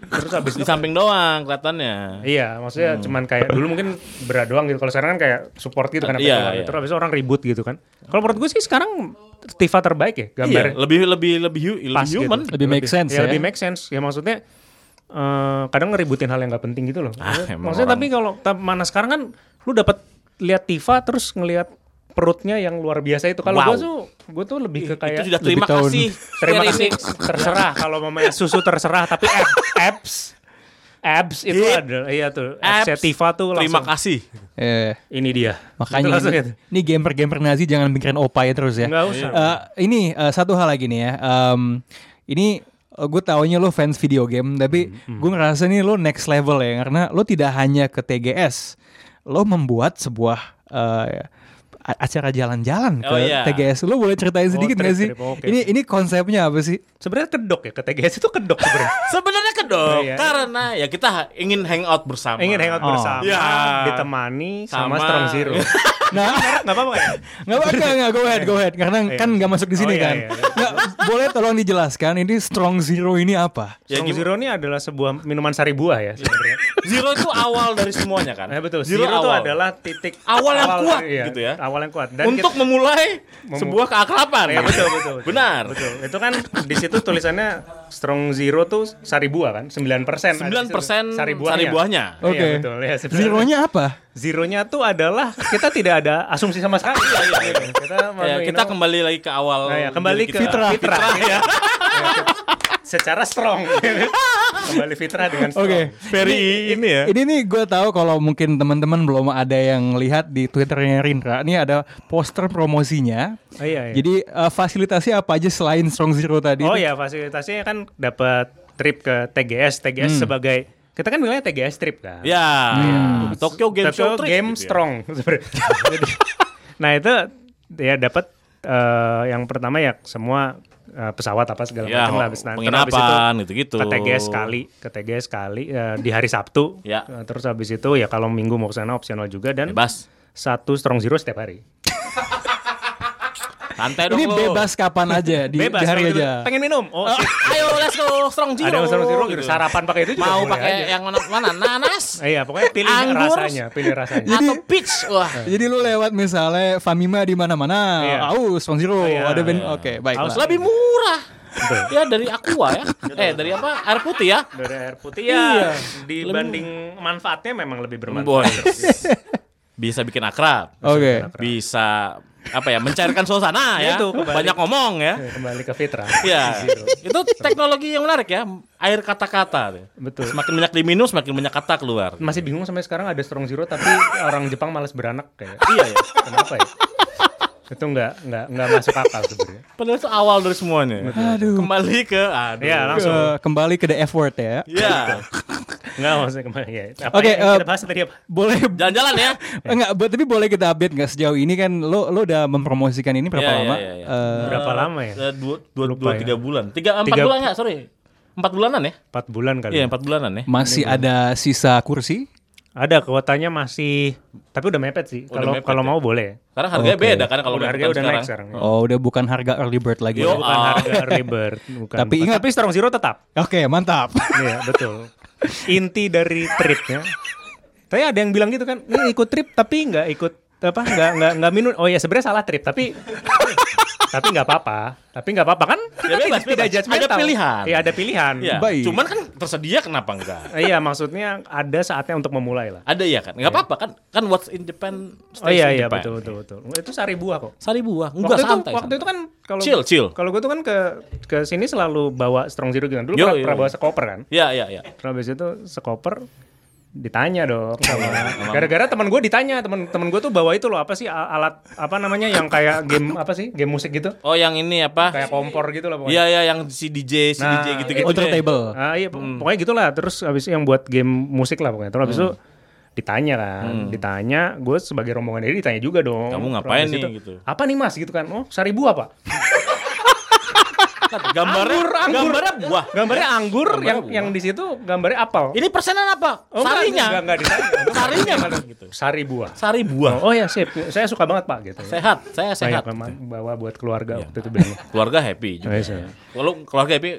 terus habis di samping doang kelihatannya. Iya, Hmm. maksudnya cuman kayak dulu mungkin berat doang gitu. Kalau sekarang kan kayak support gitu kan, Iya, apa-apa. iya. terus habis itu orang ribut gitu kan. Kalau menurut gue sih sekarang Tifa terbaik ya Iya, gambarnya. lebih lebih lebih, hu- lebih Pas human. gitu. Lebih make sense ya, ya. lebih make sense. Ya maksudnya eh, kadang ngeributin hal yang nggak penting gitu loh. Ah, emang maksudnya orang. tapi kalau ta- mana sekarang kan lu dapat lihat Tifa terus ngelihat perutnya yang luar biasa itu. Kalau Wow. gue tuh gue tuh lebih ke kayak Itu sudah terima tahun. kasih. terima Hari kasih ini. terserah kalau mamanya susu terserah tapi ab- abs abs itu Hip. ada iya tuh absnya Abs. Tifa tuh langsung Terima kasih. Eh, ini dia. Itu makanya langsung ini, gitu. ini gamer-gamer Nazi jangan mikirin opaya terus ya. Nggak usah. Eh, ini eh, satu hal lagi nih ya. Em, ini eh, gue taunya lo fans video game, tapi Hmm, gue ngerasa nih lo next level ya, karena lo tidak hanya ke TGS, lo membuat sebuah eh, a- acara jalan-jalan ke Oh, iya. TGS. Lo boleh ceritain sedikit nggak sih? trip-trip, Oh, oke. Ini ini konsepnya apa sih? Sebenarnya kedok ya ke TGS itu kedok sebenarnya. Sebenarnya kedok, Iya. karena ya kita ha- ingin hangout bersama. Ingin hangout Oh. bersama, Iya. ditemani Sama. sama, Strong Zero. Nah, Enggak apa-apa ya? Nggak apa nggak nggak, go ahead, go ahead. Karena Iya. kan nggak masuk di Oh, sini iya, kan. iya. Nggak, boleh tolong dijelaskan ini Strong Zero ini apa? Ya, Strong gim- Zero ini adalah sebuah minuman sari buah ya sebenarnya. Zero itu awal dari semuanya kan? Eh, betul. Zero, itu awal. adalah titik Awal yang kuat, iya, gitu ya. Awal yang kuat. Dan untuk kita- memulai Memu- sebuah keakraban. Iya, betul, betul, betul. Benar. Ya, betul. Itu kan di situ tulisannya Strong Zero tuh sari buah kan, 9%. ada di situ. 9% sari buahnya. sari buahnya. Iya, Oke. betul. Iya, sebenarnya. Zero-nya apa? Zeronya tuh adalah kita tidak ada asumsi sama sekali. Iya, kita, Ya, you kita know, kembali lagi ke awal. Nah, ya, kembali diri ke kita. Fitrah. ya. Ya, fit- secara strong. kembali fitrah dengan strong. Oke. Very ini ya. Ini nih gue tahu kalau mungkin teman-teman belum ada yang lihat di twitternya Rindra. Ini ada poster promosinya. Oh, iya, iya. Jadi eh, fasilitasnya apa aja selain Strong Zero tadi? Oh ya fasilitasnya kan dapat trip ke TGS, TGS Hmm. sebagai kita kan bilangnya TGS trip kan. Ya, ya. Tokyo Game Show Tokyo Trip Game gitu ya. Strong sebenarnya. Jadi, nah itu ya dapat eh, yang pertama ya semua eh, pesawat apa segala Ya, macam lah habis nanti habis penginapan gitu-gitu. ke TGS sekali, ke TGS sekali eh, di hari Sabtu. Ya. Eh, terus habis itu ya kalau Minggu mau kesana opsional juga dan Bebas. satu strong zero setiap hari. Santai dong Ini lo. bebas kapan aja di, di Bebas hari pengen, aja. pengen minum. Oh, Ah, sip. Ayo let's go strong zero. ada yang strong zero gitu. Sarapan pakai itu juga Mau boleh pakai aja. yang mana? mana? Nanas Eh, Iya, pokoknya pilih Anggur. rasanya, pilih rasanya. atau peach. Wah. Jadi lu lewat misalnya Famima di mana-mana, Iya. au Strong Zero, Iya. ada band. Iya. Oke, baik. Eh, Harus lebih murah. ya dari aqua ya. eh dari apa? Air putih ya. Dari air putih Iya. ya, dibanding manfaatnya memang lebih bermanfaat. Boy. Bisa bikin akrab. Oh, Oke. Bisa apa ya? Mencairkan suasana ya. Itu, kembali. Iya. Banyak ngomong ya. Ya, Kembali ke fitrah. Ya, itu teknologi yang menarik ya, air kata-kata. Betul. Semakin banyak diminum, semakin banyak kata keluar. Masih bingung sampai sekarang ada strong zero tapi orang Jepang malas beranak kayak. iya ya. Kenapa ya? Itu nggak nggak nggak masuk akal sebenarnya. Padahal itu awal dari semuanya. Aduh. Kembali ke, aduh. Ya, langsung. Iya. Ke- kembali ke the F word ya. Ya, Nggak maksudnya kembali. Ya. Apa Oke, yang eh, kita bahas tadi apa? Boleh jalan-jalan ya. enggak bo- tapi boleh kita update nggak sejauh ini kan lo lo udah mempromosikan ini berapa Ya, Iya, ya, lama? ya, ya. Eh, Berapa lama ya? Eh, Dua, dua, Lupa dua ya. tiga bulan. Tiga, empat Tiga- bulan nggak? Sorry, empat bulanan ya? 4 bulan kali. Iya, ya. empat bulanan ya. masih ada sisa kursi? Ada kuotanya masih tapi udah mepet sih. Udah Kalau mepet kalau ya? mau boleh. Karena harganya Oke. beda kan kalau udah harga mepet udah sekarang. naik sekarang. ya. Oh, udah bukan harga early bird lagi. Yo, Oke, Bukan ah. harga early bird, bukan. Tapi ingat- tapi Strong Zero tetap. mantap. Iya betul. Inti dari tripnya. Tapi ada yang bilang gitu kan, ini ikut trip tapi nggak ikut apa nggak nggak nggak minum. Oh ya sebenarnya salah trip tapi tapi nggak apa-apa. Tapi nggak apa-apa kan? Ya, bebas, tidak bebas. judgmental. Ada pilihan. Iya ada pilihan. Iya. Baik. Cuman kan tersedia kenapa enggak? Iya maksudnya ada saatnya untuk memulai lah. Ada ya kan? Enggak apa-apa kan? Kan what's in Japan Iya. Oh stays iya in iya Japan. betul betul betul. Itu sari buah kok. Sari buah. Enggak waktu santai. Itu, waktu itu kan kalau Chill, chill. Kalau gue tuh kan ke ke sini selalu bawa strong zero gitu. Dulu Yo, pernah, yo, pernah yo. bawa sekoper kan. Iya, iya, iya. Terus habis itu sekoper ditanya dong Iya, sama gara-gara teman gue ditanya teman teman gue tuh bawa itu loh apa sih a- alat apa namanya yang kayak game apa sih game musik gitu Oh, yang ini apa? kayak kompor gitu loh pokoknya Iya, iya, yang si DJ, si Nah, DJ gitu-gitu. Outer deh. table. Ah, iya po- Hmm. pokoknya gitulah terus habis itu yang buat game musik lah pokoknya terus habis itu ditanya kan ditanya gue sebagai rombongan ini ditanya juga dong Hmm. Kamu Terus ngapain habis nih, itu, gitu. apa nih mas gitu kan oh seribu apa Kan Gambarnya, Anggur, anggur. gambarnya buah. Iya. gambarnya anggur Gambarnya yang buah. yang di situ gambarnya apel Ini persenan apa? Iya. Oh, enggak, Sarinya. enggak, enggak, ditanya. Sarinya mana gitu. sari buah Sari buah. Oh, oh ya sip, saya suka banget pak gitu. Sehat, saya Banyak sehat. memang bawa buat keluarga waktu itu bilangnya. Keluarga happy juga. ya. Iya, sih. Kalau keluarga happy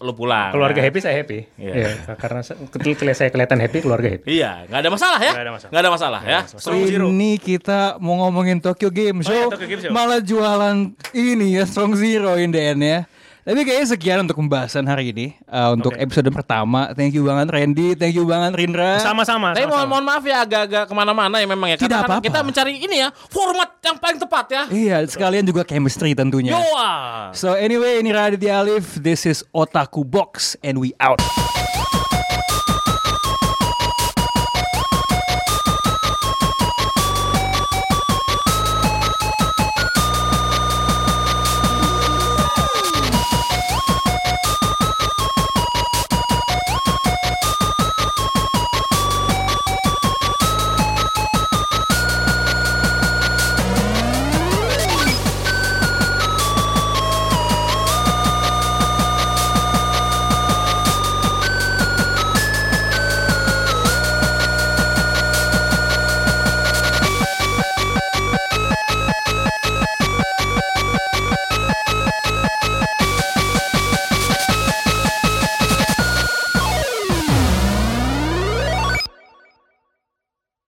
lu pulang. Keluarga Nah. happy saya happy. Iya. Iya, karena se- ketika saya kelihatan happy keluarga happy. Iya, nggak ada masalah ya. Nggak ada masalah. Nggak ada masalah ya. Strong Zero. Ini kita mau ngomongin Tokyo Game Show, iya, Tokyo Game Show. malah jualan ini ya Strong Zero in the end ya. Tapi kayaknya sekian untuk pembahasan hari ini Eh, untuk episode pertama. Thank you banget Randy, thank you banget Rindra. Sama-sama. Tapi mohon, sama-sama. mohon maaf ya agak-agak kemana-mana ya memang ya. Tidak Karena apa-apa. kan Kita mencari ini ya format yang paling tepat ya. Iya, sekalian juga chemistry tentunya. Yoa. So anyway, ini Raditya Alif. This is Otaku Box and we out.